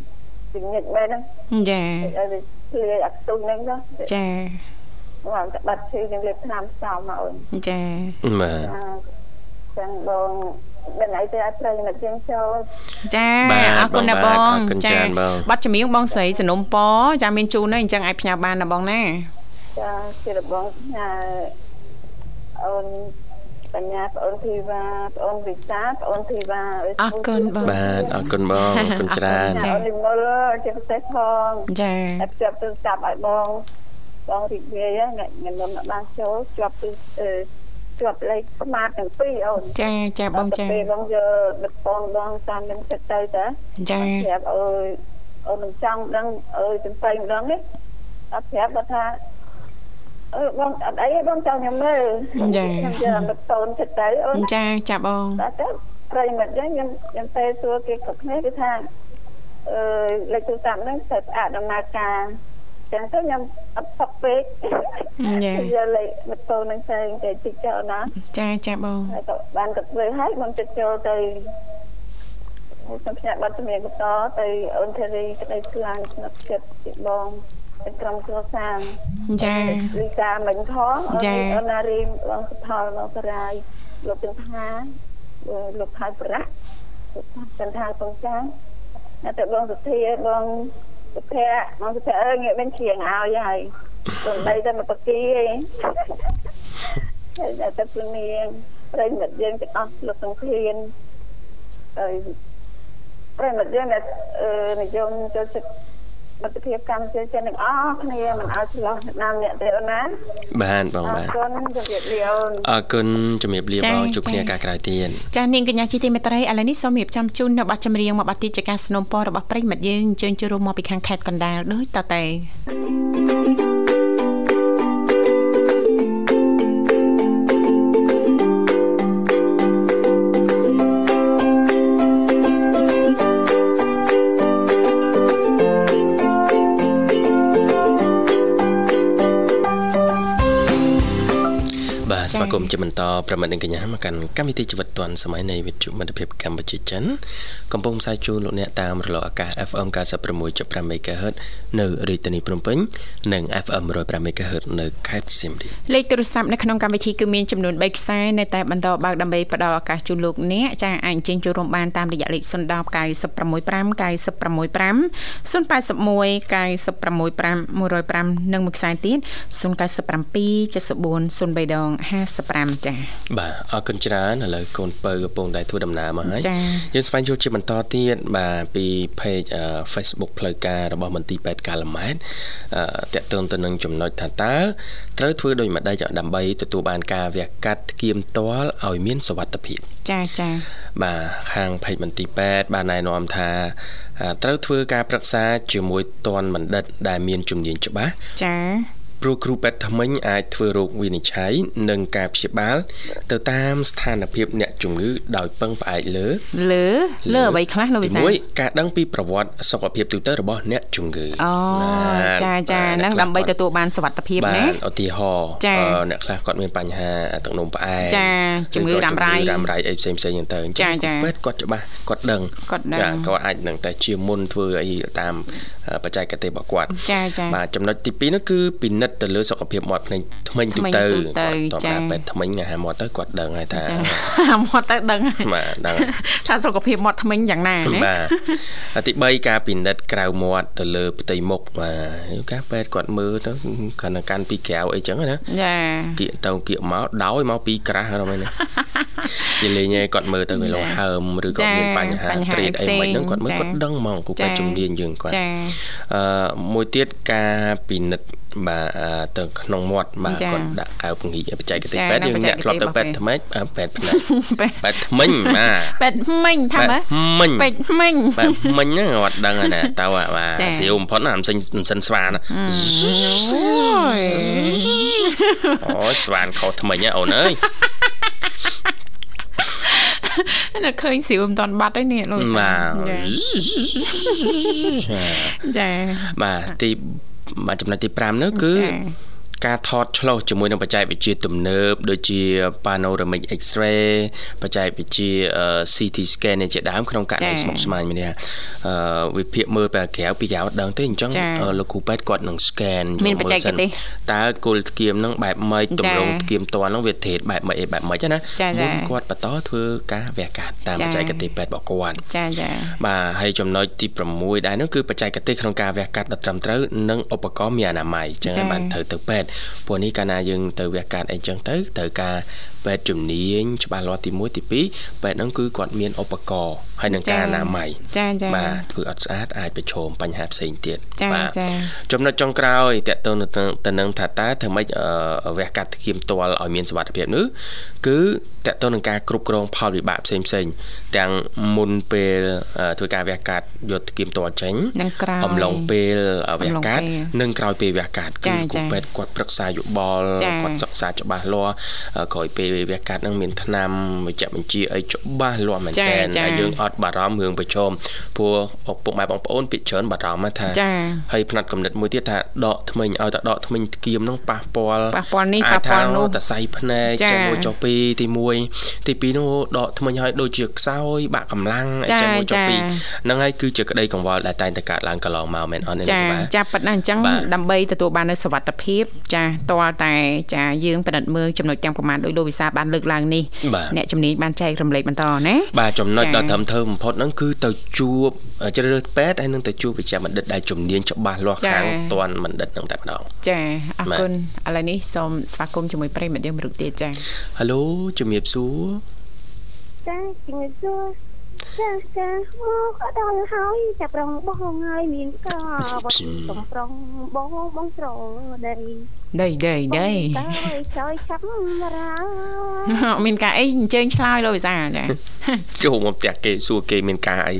S5: ជំនិចបែបហ្នឹង
S3: ចា
S5: អើវាព្រាយអាក់ទុំហ្នឹងណា
S3: ចា
S5: បងតែបាត់ឈឺយើងលេបឆ្នាំផ្សំមកអូន
S3: ចា
S2: បាទ
S5: អឺចឹងបងដឹងអីទេអត់ត្រូវមកជាងចូល
S3: ចា
S2: បាទ
S3: អរគុណណា
S2: ប
S3: ប
S2: ងបាទ
S3: ង
S2: អរគុណច្រើនបង
S3: បាត់ចម្រៀងបងស្រីសនុំពចាមានជូនហើយអញ្ចឹងអាចផ្ញើបានណាបងណា
S5: ចាជារបងផ្ញើអូនបញ្ញាប្អូនធីវ៉ាប្អូនវិសាប្អូនធីវ៉ា
S3: អរគុណបង
S2: បាទអរគុណបងអរគុណច្រើន
S5: ចាអូននិមលជាពិសេសផង
S3: ចា
S5: តែភ្ជាប់ទូរស័ព្ទឲ្យបងបងរីករាយហ្នឹងញញុំអត់បានចូលជាប់ទូរអឺជាប់លេខស្មាតទាំងពីរអូន
S3: ចាចាបងចា
S5: ដល់ទៅពេលបងយកដឹកបងបងតាមនឹងចិត្តទៅតា
S3: ចា
S5: ប្រាប់អើយអូនមិនចង់ដឹងអើយចំពេងដឹងនេះអត់ប្រាប់គាត់ថាអឺបងអត់អីទេបងចង់ខ្ញុំមើលខ្ញុំយកមកតូនចិត្តទៅអូន
S3: ចាចាបង
S5: តែទៅប្រិមិត្តយើងខ្ញុំខ្ញុំទៅសួរគេគ្រប់គ្នាគេថា អឺលេខទូរស័ព្ទហ្នឹងស្ថិតស្អាតដំណើរការចឹងទៅខ្ញុំអត់សឹកពេក
S3: យ៉ា
S5: យកលេខម៉ូតូហ្នឹងទៅតែតិចចោលណា
S3: ចាចាបង
S5: ហើយក៏បានក៏ធ្វើហើយបងចិត្តចូលទៅមកខ្ញុំផ្ញើប័ណ្ណជំនាញបន្តទៅអូនធេរីក្តីខ្លាំងស្និទ្ធចិត្តជាបងទៅក្រុមគ្រួសារ
S3: ចា
S5: លីសាមិញផងអូនអូនណារីបងសុផលមករាយលោកទាំងថាលោកខៅប្រាក់លោកថាចន្ទថាពងចាងតែទៅបងសុធាបងសុភ័ក្របងសុភ័ក្រអើងាកមិនជាងឲ្យហើយសំដីតែមកបកីឯង [LAUGHS] តែទៅព្រមនាងប្រិមិត្តយើងទាំងអស់លោកទាំងធានអើយប្រិមិត្តយើងដែលអឺនិយមចូលចិត្តបទភាពកម្មជាចិនទាំងអស់គ្នាមិនឲ្យឆ្លោះតាមអ្នកទេអូនណា
S2: បានបងបាទ
S5: គុណជម្រាបលាអូន
S2: អរគុណជំរាបលាបងជួបគ្នាឱកាសក្រោយទៀត
S3: ចានាងកញ្ញាជីទីមេត្រីឥឡូវនេះសូមរៀបចំជូននៅប័ណ្ណចម្រៀងមួយប័ណ្ណទីជាការสนុំពររបស់ប្រិយមិត្តយើងអញ្ជើញចូលរួមមកពីខាងខេត្តកណ្ដាលដូចតទៅ
S2: បាទស្វាគមន៍ជាបន្តប្រមិត្តនិងកញ្ញាមកកាន់កម្មវិធីជីវិតឌွန်សម័យនៃវិទ្យុមិត្តភាពកម្ពុជាចិនកំពុងផ្សាយជូនលោកអ្នកតាមរលកអាកាស FM 96.5 MHz នៅរាជធានីភ្នំពេញនិង FM 105 MHz នៅខេត្តសៀមរាប
S3: លេខទូរស័ព្ទនៅក្នុងកម្មវិធីគឺមានចំនួន3ខ្សែនៅតែបន្តបើកដើម្បីផ្ដល់ឱកាសជូនលោកអ្នកចាអាចអញ្ជើញចូលរួមបានតាមរយៈលេខ010 965 965 081 965 105និងមួយខ្សែទៀត097 74 03ដង55ចា
S2: បាទអរគុណច្រើនឥឡូវកូនពៅកំពុងតែធ្វើដំណើរមកហើយ
S3: ចា៎
S2: យើងស្វែងយល់ជាបន្តទៀតបាទពី page អឺ Facebook ផ្លូវការរបស់មន្ទីរពេទ្យកាឡាម៉ែតតកតឹងទៅនឹងចំណុចថាតើត្រូវធ្វើដោយម្ដេចដើម្បីទទួលបានការវះកាត់ធ្គាមទាល់ឲ្យមានសុវត្ថិភាព
S3: ចាចា
S2: បាទខាងភេទមន្ទីរពេទ្យបានណែនាំថាអ่าត្រូវធ្វើការប្រឹក្សាជាមួយតនបណ្ឌិតដែលមានជំនាញច្បាស់
S3: ចា
S2: ព្រោះគ្រូពេទ្យថ្មិញអាចធ្វើរោគវិនិច្ឆ័យនិងការព្យាបាល ទៅតាមស្ថានភាពអ្នកជំងឺដោយពឹងផ្អែកលើ
S3: លើលើអ្វីខ្លះលោកវិសាល
S2: មួយការដឹងពីប្រវត្តិសុខភាពទូទៅរបស់អ្នកជំងឺ
S3: អូ
S2: បាទ
S3: ចាចា
S2: បាទ
S3: ហ្នឹង
S2: អ្នកខ្លះ
S3: ដើម្បី
S2: គាត់
S3: ទទួលបានសុវត្ថិភាព
S2: បា
S3: ណា
S2: នឧទាហរណ៍
S3: ចា
S2: អឺអ្នកខ្លះគាត់មានបញ្ហាទឹកនោមផ្អែម
S3: ចាជំងឺ
S2: ឬក៏
S3: រ៉ាំរ៉ៃ
S2: រ៉ាំរ៉ៃអីផ្សេងផ្សេងហ្នឹងទៅអ
S3: ចា
S2: ញ្ចឹង
S3: ចា
S2: គ្រូពេទ្យគាត់ច្បាស់គាត់ដឹង
S3: គាត់ដឹង
S2: ចាគាត់អាចនឹងតែជាមុនធ្វើអីតាមអឺបច្ចេកទេសរបស់គាត់
S3: ចាចា
S2: បាទចំណុចទី2ហ្នឹងគឺពិនិត្យទៅលើសុខភាពមាត់ភ្នែកថ្មិញទូ
S3: ថ្មី
S2: ទៅ
S3: ទូទៅ
S2: គាត់
S3: ចា
S2: ធម្មតាពេទ្យថ្មិញអាហារមាត់ទៅគាត់ដឹងហើយថា
S3: ចា [LAUGHS] មកទៅដឹងហើយ
S2: បាទដឹង
S3: [LAUGHS] ថាសុខភាពមាត់ធ្មេញយ៉ាងណាណា
S2: បាទទី3ការពិនិត្យក្រៅមាត់ទៅលើផ្ទៃមុខបាទការពេទ្យគាត់មើលទៅគាត់នឹងកាន់ពីក្រៅអីចឹងណា
S3: ចា
S2: គៀកទៅគៀកមកដោយមកពីក្រាស់ហ្នឹងឯង
S3: [LAUGHS]
S2: ណា និយាយលេងឯងគាត់មើលទៅវាលោហើមឬក៏
S3: ចា
S2: មានបញ្ហា
S3: បញ្ហា
S2: ត្រេកអីមិនហ្នឹងគាត់មើល
S3: ចា
S2: គាត់ដឹងហ្មងគូ
S3: ចា
S2: ពេទ្យជំនាញយើងគាត់
S3: ចា
S2: អឺមួយទៀតការពិនិត្យបាទអឺទៅក្នុងមាត់បាទគាត់ដាក់កៅពង្រីកបច្ចេកទេសពេទ្យយើងអ្នកធ្លាប់ទៅពេទ្យថ្មិចអឺពេទ្យផ្នែក
S3: ពេ
S2: ពេទ្យ [LAUGHS] ថ្មិញបាទ
S3: ពេទ្យធ្មេញថាមើល
S2: មិញ
S3: ពេទ្យធ្មេញ
S2: បាទមិញហ្នឹងគាត់ដឹង [LAUGHS] ហើយណាតើអាបា
S3: ចា៎
S2: ទស្រាវបំផុតណាមិនសិនមិនសិនស្វានណាអូ [LAUGHS] យស្វានខុសថ្មិញហ៎អូនអើយ
S3: តែឃើញស្រីវ [LAUGHS] មិនតាន់បាត់ទេនេះលោកវិ
S2: បា
S3: សាល
S2: ទ
S3: ចា
S2: បាទទីបាទចំណុចទី5នោះគឺ
S3: ចា៎
S2: ការថតឆ្លុះជាមួយនឹងបច្ចេកវិទ្យាទំនើបដូចជា panoramic x-ray បច្ចេកវិទ្យាអឺ CT scan នេះជាដើមក្នុងករណី
S3: ចា៎
S2: ស្មុគស្មាញមួយនេះអឺវិភាគមើលបែបក្រៅពីក្រៅអត់ដឹងទេអញ្ចឹង
S3: ចា៎
S2: អឺលោកគ្រូពេទ្យគាត់នឹង scan
S3: មាន
S2: យកមើល
S3: បច្ចេក
S2: សិន
S3: ទេស
S2: តើគុលធ្គាមនឹងបែបម៉េច
S3: ចា៎
S2: ទម្រង់ធ្គាមតន់នឹងវាធេតបែបម៉េចអីបែបម៉េចណា
S3: ចា៎
S2: មុន
S3: ចា៎
S2: គាត់បន្តធ្វើការវះកាត់តាម
S3: ចា៎
S2: បច្ចេកទេសពេទ្យរបស់គាត់
S3: ចាចា
S2: បាទហើយចំណុចទី6ដែរនោះគឺបច្ចេកទេសក្នុងការវះកាត់ដ៏ត្រឹមត្រូវនិងឧបករណ៍មានអនាម័យអញ្ចឹងហើយបានត្រូវទៅពេទ្យព្រោះនេះកាលណាយើងទៅវះកាត់អីចឹងទៅត្រូវការពេទ្យជំនាញច្បាស់លាស់ទី1ទី2ពេទ្យហ្នឹងគឺគាត់មានឧបករណ៍ហើយនឹងការអនាម័យ
S3: ចាចា
S2: បាទធ្វើអត់ស្អាតអាចប្រឈមបញ្ហាផ្សេងទៀត
S3: ចា៎
S2: បាទ
S3: ចា៎
S2: ចំណុចចុងក្រោយតកតងទៅទៅនឹងថាតើធ្វើម៉េចអឺវះកាត់ធ្គាមទាល់ឲ្យមានសុវត្ថិភាពនោះគឺតកតងនឹងការគ្រប់គ្រងផលវិបាកផ្សេងផ្សេងៗទាំងមុនពេលអឺធ្វើការវះកាត់យកធ្គាមទាល់ចេញ
S3: និងក្រោយ
S2: អំឡុងពេលអឺវះ
S3: អំឡុង
S2: កាត់
S3: ពេល
S2: និងក្រោយពេលវះកាត់
S3: ចា៎
S2: គឺ
S3: ចា៎
S2: គូពេទ្យគាត់ប្រឹក្សាយោបល់
S3: ចា៎
S2: គាត់សិក្សាច្បាស់លាស់អឺក្រោយពេលវះកាត់ហ្នឹងមានថ្នាំវេជ្ជបញ្ជាអីច្បាស់លាស់មែន
S3: ចា៎
S2: តើ
S3: ចា៎
S2: ហើយយើងអត់ ត់បារម្ភរឿងប្រឈមព្រោះឪពុកម៉ែបងប្អូនពិចារណាបារម្ភណាថា
S3: ចា
S2: ហើយផ្នែកកំណត់មួយទៀតថាដកថ្មិញឲ្យតែដកថ្មិញគៀមហ្នឹងប៉ះពាល់
S3: ប៉ះពាល់នេះ
S2: អាច
S3: ប៉ះពាល់នោះ
S2: ថាតសៃភ្នែក
S3: ចា
S2: ចមួយចុះពីរទី1ទី2នោះដកថ្មិញឲ្យដូចជាខ្សោយបាក់កម្លាំង
S3: ចា
S2: អីចឹងមួយចុះ
S3: ចា
S2: ពីរហ្នឹងហើយគឺជាក្តីកង្វល់ដែលតែងតែកើតឡើងកន្លងមកមែនអត់ទេ
S3: ចា
S2: បាទ
S3: ចាប៉ិតណាស់អញ្ចឹង
S2: បាទ
S3: ដើម្បីទទួលបាននូវសុវត្ថិភាព ចាតលតែចាយើងពិនិត្យមើលចំណុចទាំងប្រមាណដោយលោកវិសាលបានលើកឡើងនេះ
S2: បាទ
S3: អ្នកជំនាញបានចែករំលែកបន្តណា
S2: បាទចំណុចដល់ត្រឹមធ្វើបំផុតហ្នឹងគឺទៅជួបជ្រើសរើសពេទ្យហើយនឹងទៅជួបវេជ្ជបណ្ឌិតដែលជំនាញច្បាស់លាស់ខាងតនបណ្ឌិតហ្នឹងតែម្ដង
S3: ចាអរ
S2: បាទ
S3: គុណឥឡូវនេះសូមស្វាគមន៍ជាមួយប្រិយមិត្តយើងមរុកទៀតចា
S2: ហៅជំរាបសួរ
S6: ចាជំរាបសួរចាចាមកអត់ដល់ហើយចាប់ប្រងបងហើយមានកវត្តសំប្រងបងបងស្រដី
S3: ដៃដៃដៃ
S6: ចូលចូលចាប់រា
S3: [LAUGHS] មានការអីអញ្ជើញឆ្លើយលោកវិសាលចា
S2: ចូលមកផ្ទះគេសួរគេមានការអី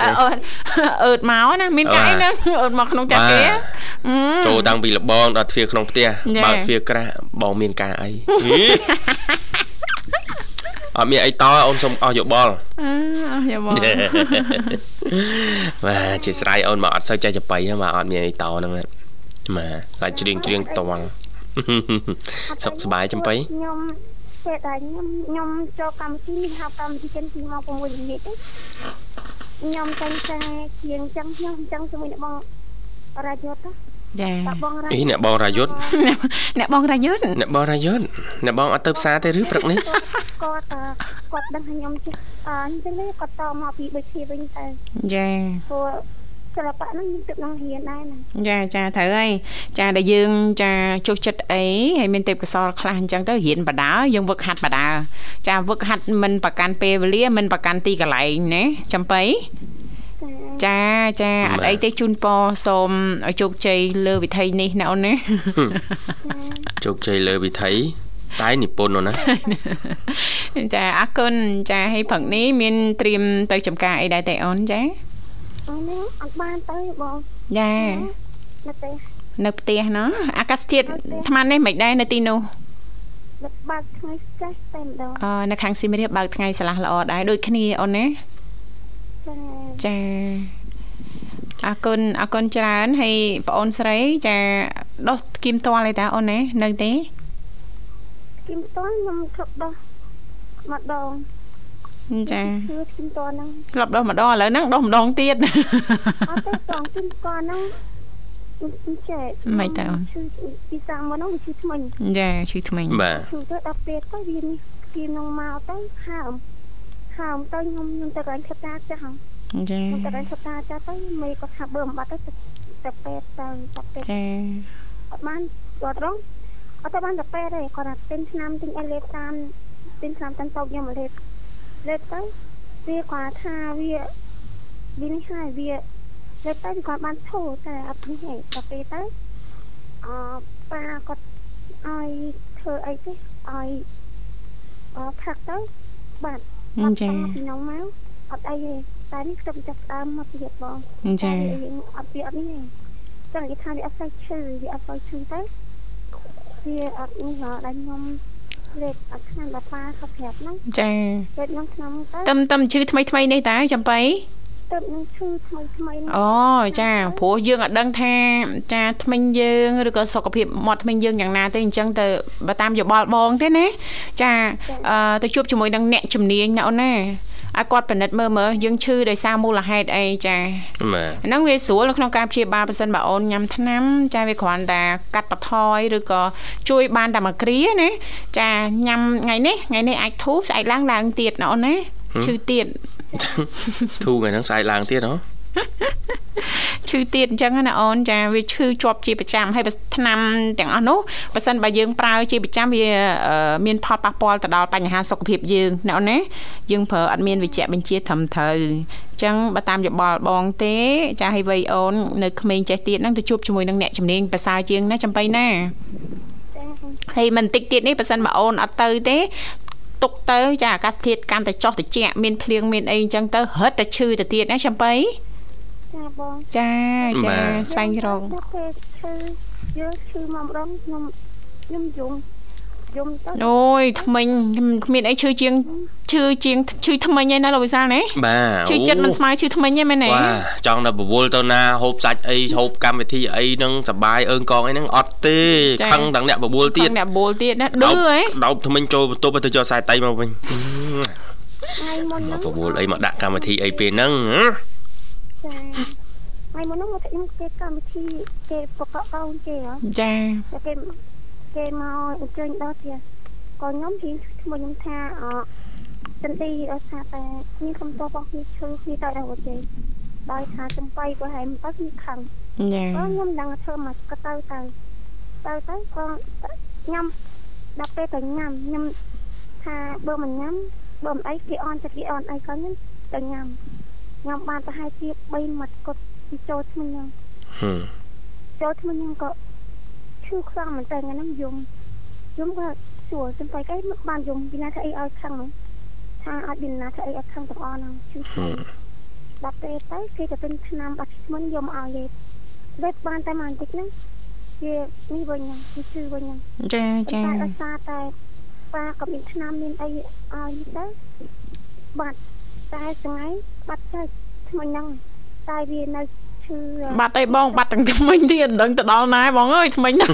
S3: អឺអឺតអឺតមកណាមាន
S2: បាទ
S3: កាយណាអឺតមកក្នុងតែគេ
S2: បាទ
S3: ហឹម
S2: ចូលតាំងពីលបងដល់ទ្វារក្នុងផ្ទះ
S3: យ៉ា
S2: បើកទ្វារក្រាស់បងមានការអី ហីអត់មានអីតអូនសុំអស់យោបល់
S3: អឺអស់យ៉ាបង
S2: [LAUGHS] បាទជាស្រ័យអូនមកអត់សូវចេះចបៃទេមកអត់មានអីតហ្នឹងណាបាទឡាច់ជ្រៀងជ្រៀង [LAUGHS] តល សុខសប្បាយចំបៃ
S6: ខ្ញុំពេលដែលខ្ញុំខ្ញុំចូលកម្មវិធីនេះហៅកម្មវិធីចិនពីម៉ោង6ល្ងាចទេខ្ញុំតែងតែជាងចឹងខ្ញុំចឹងជាមួយអ្នកបងរាជយុទ្ធ
S3: ចា
S6: តបងរាជ
S2: អីអ្នកបងរាយុទ្ធ
S3: អ្នកបងរាយុទ្ធ
S2: អ្នកបងរាយុទ្ធអ្នកបងអត់ទៅផ្សារទេឬព្រឹកនេះ [LAUGHS]
S6: គាត់គាត់ដឹងថាខ្ញុំចេះអញ្ចឹងគាត់តមកពីដូចជាវិញតែ
S3: ចា
S6: ព្រោះសិល្បៈហ្នឹងមានទឹកនឹងរៀនដែរណា
S3: ចាចាត្រូវហើយចាដែលយើងចាចុះចិត្តអីហើយមានទេពកោសលខ្លះអញ្ចឹងទៅរៀនបដាយើងវឹកហាត់បដាចាវឹកហាត់មិនប្រកាន់ពេលវេលាមិនប្រកាន់ទីកន្លែងណាចំបៃ ចាចាអត់អីទេជូនពរសូមឲ្យជោគជ័យលើវិធីនេះណាអូនណា
S2: ជោគជ័យលើវិថីតែនិពន្ធនោះ [LAUGHS] ណា
S3: [LAUGHS] ចាអរគុណចាហើយព្រឹកនេះមានត្រៀមទៅចំការអីដែរតេអូនចា
S6: អញ្ចឹងអត់បានទៅបង
S3: ចា
S6: នៅទេ
S3: នៅផ្ទះណោះអាកាសធាតុថ្មនេះមិនដែរនៅទីនោះ
S6: ដឹកបាក់ថ្ងៃចេះតែម្ដង
S3: អឺនៅខាងស៊ីមរាបបើកថ្ងៃស្លាស់ល្អដែរដូចគ្នាអូនណា
S6: ចា
S3: ចាអរគុណអរគុណច្រើនហើយបងអូនស្រីចាដោះគីមតលអីតាអូនណានៅទេ
S6: គីមតនខ្ញុំគ្រប់ដោះម្ដង
S3: ចា
S6: គឺគីមតនហ្នឹង
S3: ក្លាប់ដោះម្ដងឥឡូវហ្នឹងដោះម្ដងទៀត
S6: អត់ទេបងគីមតនហ្នឹងមិនចេះ
S3: មិនទៅអូន
S6: គឺពីសាំងមកហ្នឹងវាឈឺថ្មិញ
S3: ចាឈឺថ្មី
S2: បាទ
S6: ឈឺទៅដល់ពេលទៅវានេះគីមនឹងមកទៅហើមហើមទៅខ្ញុំខ្ញុំទៅរែងខិតតាចាស់
S3: ចា
S6: ខ្ញុំទៅរែងខិតតាចាស់ទៅមេគាត់ថាបើមិនបាត់ទៅទៅពេទ្យទៅទៅពេទ្យ
S3: ចា
S6: អត់បានគាត់រងអត់ទៅបានកាហ្វេទេគាត់ថាទិញឆ្នាំទិញអីលេបតាមទិញឆ្នាំតាមតូបយកមកលេបលេបទៅវាគាត់ថាវាវានេះហើយវាលេបទៅវាគាត់បានធូរតែអត់ធូរទេដល់ពេលទៅអប៉ាគាត់ឲ្យធ្វើអីទេឲ្យអផឹកទៅបាទ
S3: អញ្ចា
S6: បាត់ពីនោះមកអត់អីទេតែនេះខ្ញុំចាប់ផ្ដើមមកទៀតបង
S3: អញ្ចា
S6: តែយើងអត់វាអត់នេះទេចង់និយាយថាវាអត់ស្អីឈឺវាអត់ស្អីឈឺទៅវាអត់នេះហ៎ដល់ខ្ញុំលេបអត់ឆ្នាំដល់ប៉ាគាត់ប្រាប់ហ្នឹង
S3: ចា
S6: លេបហ្នឹងឆ្នាំទៅ
S3: តឹមតឹមឈឺថ្មីថ្មីនេះតាចំបៃ
S6: ទៅនឹងឈឺថ្មីថ្មីហ្នឹង
S3: អូចាព្រោះយើងអត់ដឹងថាចាថ្មិញយើងឬក៏សុខភាពមាត់ថ្មិញយើងយ៉ាងណាទេអញ្ចឹងទៅបើតាមយោបល់បងទេណាចាអឺទៅជួបជាមួយនឹងអ្នកជំនាញណាអូនណាឲ្យគាត់ពិនិត្យមើលមើលយើងឈឺដោយសារមូលហេតុអីចា
S2: បាទ
S3: ហ្នឹងវាស្រួលនៅក្នុងការព្យាបាលប៉ះសិនបើអូនញ៉ាំថ្នាំចាវាគ្រាន់តែកាត់បន្ថយឬក៏ជួយបានតែមួយគ្រាណាចាញ៉ាំថ្ងៃនេះថ្ងៃនេះអាចធូរស្អែកឡើងឡើងទៀតណាអូនណាឈឺទៀត
S2: ធូរថ្ងៃហ្នឹងស្អែកឡើងទៀតហ៎
S3: ឈឺទៀតអញ្ចឹងណាអូនចាវាឈឺជាប់ជាប្រចាំហើយបើឆ្នាំទាំងអស់នោះបើសិនបើយើងប្រើជាប្រចាំវាអឺមានផលប៉ះពាល់ទៅដល់បញ្ហាសុខភាពយើងណាអូនណាយើងប្រើអត់មានវិជ្ជបញ្ជាត្រឹមត្រូវអញ្ចឹងបើតាមយោបល់បងទេ ចាឲ្យវ័យអូននៅក្មេងចេះទៀតហ្នឹងទៅជួបជាមួយនឹងអ្នកជំនាញប្រសើរជាងណាចំបៃណា
S6: ចា
S3: ហើយមិនតិចទៀតនេះបើសិនបើអូនអត់ទៅទេទុកទៅចាអាកាសធាតុកាន់តែចុះត្រជាក់មានភ្លៀងមានអីអញ្ចឹងទៅរឹតតែឈឺទៅទៀតណាចំបៃ
S6: ចាបង
S3: ចាចាស្វែងរក
S6: ដល់ពេលឈឺយើងឈឺមកម្ដងខ្ញុំខ្ញុំយំ យំទៅ
S3: អូយថ្មិញគ្មានអីឈឺជាងឈឺជាងឈឺថ្មិញឯណាលោកវិសាលណា
S2: បាទ
S3: ឈឺចិត្តមិនស្មើឈឺថ្មិញឯមែនទេ
S2: បាទចង់ដល់បវលទៅណាហូបសាច់អីហូបកម្មវិធីអីហ្នឹងសបាយអើងកងអីហ្នឹងអត់ទេខឹងដល់អ្នកបវលទៀត
S3: ខាងអ្នកបូលទៀតណាឌឺឯង
S2: ដោបថ្មិញចូលបន្ទប់ទៅយកខ្សែតៃមកវិញ
S6: ថ្ងៃមុន
S2: មក
S6: ហ្នឹង
S2: បវលអីមកដាក់កម្មវិធីអីពេលហ្នឹងហ៎
S6: ចាថ្ងៃមុនហ្នឹងមកខ្ញុំគេកម្មវិធីគេបកកកូនគេហ៎
S3: ចា
S6: តែគេគេមកអញ្ជើញដល់ទៀតក៏ខ្ញុំនិយាយឈ្មោះខ្ញុំថាអចន្ទីអសាតែខ្ញុំខ្ញុំតបរបស់ខ្ញុំឈឺខ្ញុំទៅដល់វត្តទេដោយថាចំបៃក៏ហែមទៅខ្ញុំខឹង
S3: ចា
S6: ក៏ខ្ញុំដឹងថាធ្វើមកក៏ទៅទៅទៅទៅក៏ញ៉ាំដល់ពេលទៅញ៉ាំញ៉ាំថាបើមិនញ៉ាំបើមិនអីគេអន់ចិត្តគេអន់អីក៏ខ្ញុំទៅញ៉ាំញ៉ាំបានប្រហែលជា3មាត់គត់ពីចូលឈ្មោះខ្ញុំ
S2: ហឹម
S6: ចូលឈ្មោះខ្ញុំក៏ឈឺខ្លាំងមែនតើថ្ងៃហ្នឹងយំយំក៏សួរសំបីគេមិនបានយំពីណាថាអីឲ្យខឹងហ្នឹងថាអត់មានណាថាអីឲ្យខឹងទាំងអស់ហ្នឹងឈឺខ្លាំងដល់ពេលទៅគេទៅពេញឆ្នាំបាត់ឈ្មោះយំឲ្យគេដូចបានតែមួយបន្តិចហ្នឹងវានេះវិញហ្នឹងវាឈឺវិញហ្នឹង
S3: ចា
S6: ចា
S3: ចា
S6: តែដោយសារតែប៉ាក៏មានឆ្នាំមានអីឲ្យទៅបាត់តែថ្ងៃបាត់ទៅឈ្មោះហ្នឹងតែវានៅឈឺ
S3: បាត់អីបង បាត់ទាំងថ្មិញទៀតដឹងទៅដល់ណាបងអើយ [LAUGHS] ថ្មិញណា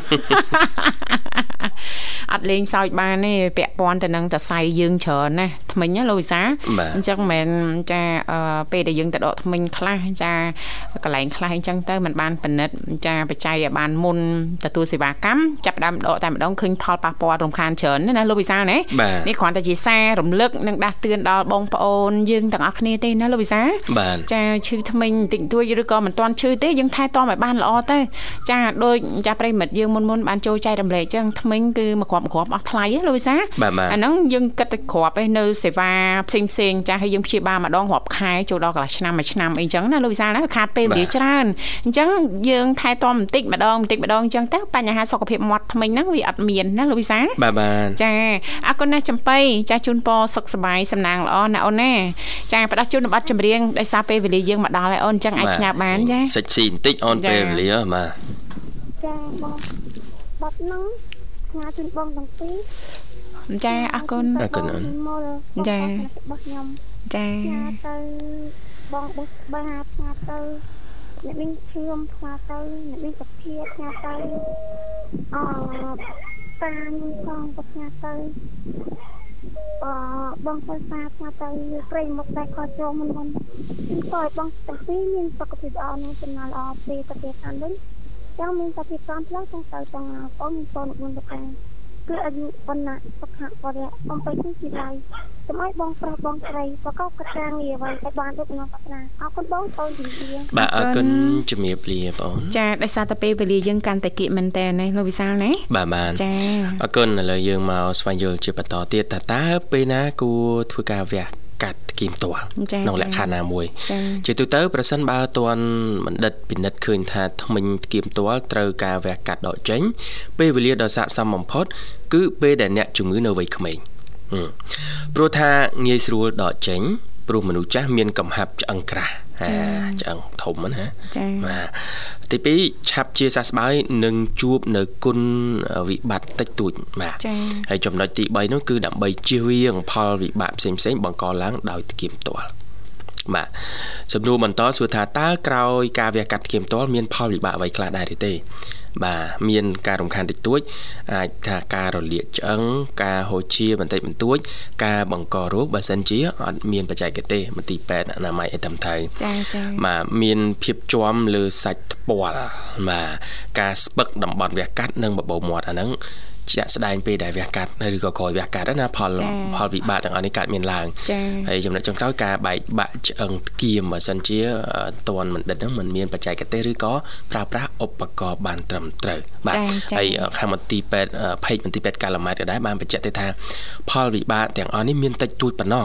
S3: អត់លេងសើចបានទេពាក់ព័ន្ធទៅនឹងតសៃយើងច្រើនណាស់ថ្មិញណាលោកវិសាល
S2: បាទ
S3: អញ្ចឹងមិនមែនចាអឺពេលដែលយើងទៅដកថ្មិញខ្លះចាកន្លែងខ្លះអញ្ចឹងទៅมันបានពិនិត្យចាបច្ច័យឲ្យបានមុនទទួលសេវាកម្មចាប់ផ្ដើមដកតែម្ដងឃើញផលប៉ះពាល់រំខានច្រើនណាណាលោកវិសាលណា
S2: បាទ
S3: នេះគ្រាន់តែជាសាររំលឹកនិងដាស់តឿនដល់បងប្អូនយើងទាំងអស់គ្នាទេណាលោកវិសាល
S2: បាទ
S3: ចាឈឺថ្មិញបន្តិចបន្តួចឬក៏មិនទាន់ឈឺទេយើងថែទាំឲ្យបានល្អទៅចាដូចចាស់ប្រិយមិត្តយើងមុនមុនបានចូលចែករំលែកអញ្ចឹងថ្មិញគឺមកគ្រាប់មកគ្រាប់អស់ថ្លៃណាលោកវិសាល
S2: បាទបាទ
S3: អាហ្នឹងយើងគិតតែក្របឯនៅសេវាផ្សេងផ្សេងៗចាស់ហើយយើងព្យាបាលម្ដងរាប់ខែចូលដល់កន្លះឆ្នាំមួយឆ្នាំអីចឹងណាលោកវិសាលណាខាតពេលវេលាច្រើនអញ្ចឹងយើងថែទាំបន្តិចម្ដងបន្តិចម្ដងអញ្ចឹងទៅបញ្ហាសុខភាពមាត់ធ្មេញហ្នឹងវាអត់មានណាលោកវិសាល
S2: បាទបាទ
S3: ចាអរគុណណាស់ចំបៃចាជូនពរសុខសប្បាយសំណាងល្អណាអូនណាចាផ្ដោះជូនប័ណ្ណចម្រៀងដោយសារពេលវេលាយើងមកដល់ហើយអូនអញ្ចឹងអាចផ្ញើបានចា
S2: សិចស៊ីបន្តិចអូន
S3: ចា
S2: ពេលវេលាបាទ
S6: ចាបងបាត់ហ្នឹងផ្ញើជូនបងទាំងពីរ
S3: ចាអរគុណ
S2: អរគុណអូន
S6: ចារបស់ខ្ញុំ
S3: ចា
S6: ផ្ញើទៅបងបុសបាផ្ញើទៅអ្នកមានឈឿមផ្ញើទៅអ្នកមានសភាផ្ញើទៅអតាខ្ញុំផងក៏ផ្ញើទៅអបងសិក្សាផ្ញើទៅព្រៃមុខដែរក៏ចូលមុនមុនខ្ញុំក៏ឲ្យបងទាំងពីរមានសុខភាពល្អនិងចំណាល់ល្អពេលទៅពេលខាងវិញចង់មានសុខភាពតាមផ្លូវទាំងទៅទាំងបងមានកូនមួយប្រការ គឺអាយុបណ្ណៈសុខៈបរិយអំពីទីជីវិតចាំឲ្យបងប្រុសបងស្រីប្រកបកិច្ចការងារអ្វីឲ្យបានដូចនាំប្រាថ្នាអរគុណបងបងជំរាប
S2: បាទអរគុណជំរាបលាបងអូន
S3: ចាដោយសារតែពេលវេលាយើងកាន់តែគៀកមែនតើណាលោកវិសាលណា
S2: បាទបាទ
S3: ចា
S2: អរគុណឥឡូវយើងមកស្វែងយល់ជាបន្តទៀតតើតើពេលណាគួរធ្វើការវះកាត់គីមផ្ទាល់
S3: ចា៎
S2: ក្នុង
S3: ចា៎
S2: លក្ខខណ្ឌណាមួយ
S3: ចា
S2: ជាទូទៅប្រសិនបើតន់បណ្ឌិតពិនិត្យឃើញថាថ្មិញគៀមផ្ទាល់ត្រូវការវះកាត់ដកចេញពេលវេលាដ៏ស័ក្តិសមបំផុត គឺពេលដែលអ្នកជំងឺនៅវ័យក្មេងហឹមព្រោះថាងាយស្រួលដកចេញព្រោះមនុស្សចាស់មានកំហាប់ឆ្អឹងក្រាស់អាឆ្អឹងធំហ្នឹងណា
S3: ចា
S2: បាទទី2ឆាប់ជាសះស្បើយនឹងជួបនៅគុណវិបត្តិតិចតួចបាទ
S3: ចា
S2: ហើយចំណុចទី3នោះគឺដើម្បីជៀសវាងផលវិបាកផ្សេងផ្សេងៗបង្កឡើងដោយធ្ងៀមផ្ទាល់បាទសំណួរបន្តសួរថាតើក្រោយការវះកាត់ធ្ងៀមផ្ទាល់មានផលវិបាកអ្វីខ្លះដែរឬទេ បាទមានការរំខានតិចតួចអាចថាការរលាកឆ្អឹងការហូរឈាមបន្តិចបន្តួច ការបង្ករោគបើសិនជាអត់មានបច្ចេកទេមន្ទីរពេទ្យអនាម័យអីតាមត្រូវ
S3: ចាចា
S2: បាទមានភាពជាំលើសាច់ថ្ពាល់បាទការស្ពឹកតំបន់វះកាត់និងបបោរមាត់អាហ្នឹងជាក់ស្ដែងពេលដែលវះកាត់ឬក៏ក្រោយវះកាត់ហ្នឹងណាផលផលវិបាកទាំងអស់នេះកើតមានឡើង
S3: ចា
S2: ហើយចំណុចចុងក្រោយការបែកបាក់ឆ្អឹងធ្គៀមបើសិនជាអឺតន់បណ្ឌិតហ្នឹងមិនមានបច្ចេកទេសឬក៏ប្រើប្រាស់ឧបករណ៍បានត្រឹមត្រូវបាទហើយអឺខាងមន្ទីរពេទ្យអឺភេកមន្ទីរពេទ្យកាឡាម៉ែតក៏ដែរបានបញ្ជាក់ទេថា ផលវិបាកទាំងអស់នេះមានតិចតួចប៉ុណ្ណោះ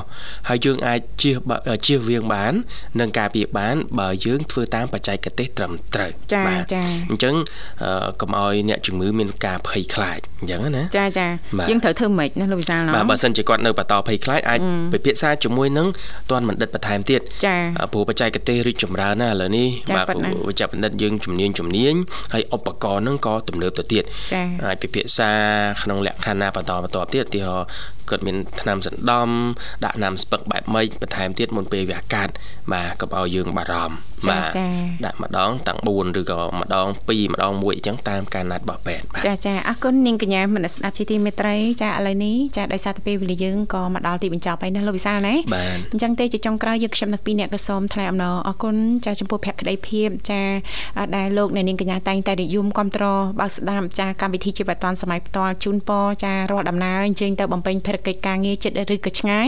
S2: ហើយយើងអាចជៀសបាជៀសវាងបាន និងការពារបានបើយើងធ្វើតាមបច្ចេកទេសត្រឹមត្រូវ
S3: ចា
S2: បាទ
S3: ចា
S2: អញ្ចឹងអឺកុំឲ្យអ្នកជំងឺមានការភ័យខ្លាច ចឹងណា
S3: ចាចា
S2: បាទ
S3: យើងត្រូវធ្វើម៉េចណាលោកវិសាលណា
S2: បាទបើសិនជាគាត់នៅបន្តភ័យខ្លាចអាចពិភាក្សាជាមួយនឹងតនបណ្ឌិតបន្ថែមទៀត
S3: ចា
S2: អ่าព្រោះបច្ចេកទេសរីកចម្រើនណាស់ឥឡូវនេះ
S3: ចា
S2: បាទ
S3: ពិតណាស់
S2: វេជ្ជបណ្ឌិតយើងជំនាញជំនាញហើយឧបករណ៍ហ្នឹងក៏ទំនើបទៅទៀត
S3: ចា
S2: អាចពិភាក្សាក្នុងលក្ខខណ្ឌណាបន្តបន្តទៀតឧទីហោគាត់មានថ្នាំសណ្ដំដាក់ថ្នាំស្ពឹកបែបម៉េចបន្ថែមទៀតមុនពេលវាអាកាត់បាទកុំឲ្យយើងបារម្ភ
S3: ចា
S2: បាទ
S3: ចា
S2: ដាក់ម្ដងតាំង4ឬក៏ម្ដង2ម្ដង1អញ្ចឹងតាមការណាត់របស់ពេទ្យបាទ
S3: ចាចាអរគុណនាងកញ្ញាមនស្សស្ដាប់ជីទីមេត្រីចាឥឡូវនេះចាដោយសារតែពេលវេលាយើងក៏មកដល់ទីបញ្ចប់ហើយណាលោកវិសាលណា
S2: បាទ
S3: អញ្ចឹងទេជាចុងក្រោយយើងខ្ញុំទាំងពីរអ្នកក៏សូមថ្លែងអំណរអរគុណចាចំពោះភក្ដីភាពចាដែលលោកអ្នកនាងកញ្ញាតែងតែនិយមគ្រប់គ្រងបើកស្ដាប់ចាកម្មវិធីជីវិតឌွန်សម័យផ្ទាល់ជូនពរចារាល់ដំណើរអញ្ជើញទៅបំពេញភារកិច្ចការងារចិត្តឬក៏ឆ្ងាយ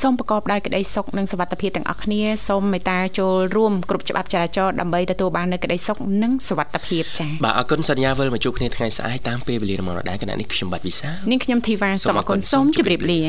S3: សូមប្រកបដោយក្តីសុខនិងសុវត្ថិភាពទាំងអស់គ្នាសូមមេត្តាចូលរួមគ្រប់ច្បាប់ចរាចរណ៍ដើម្បីទទួលបាននូវក្តីសុខនិងសុវត្ថិភាពចា
S2: បាទអរគុណសន្យាវិលមកជួបគ្នាថ្ងៃស្អែកតាមពេលវេលារំងរដែរគណៈនេះខ្ញុំបាទវិសាល
S3: នាងខ្ញុំធីវ៉ា
S2: សូ
S3: សូម
S2: ម
S3: អ
S2: អ
S3: រ
S2: រគុ
S3: គុណ
S2: ណ
S3: សូមជម្រាបលា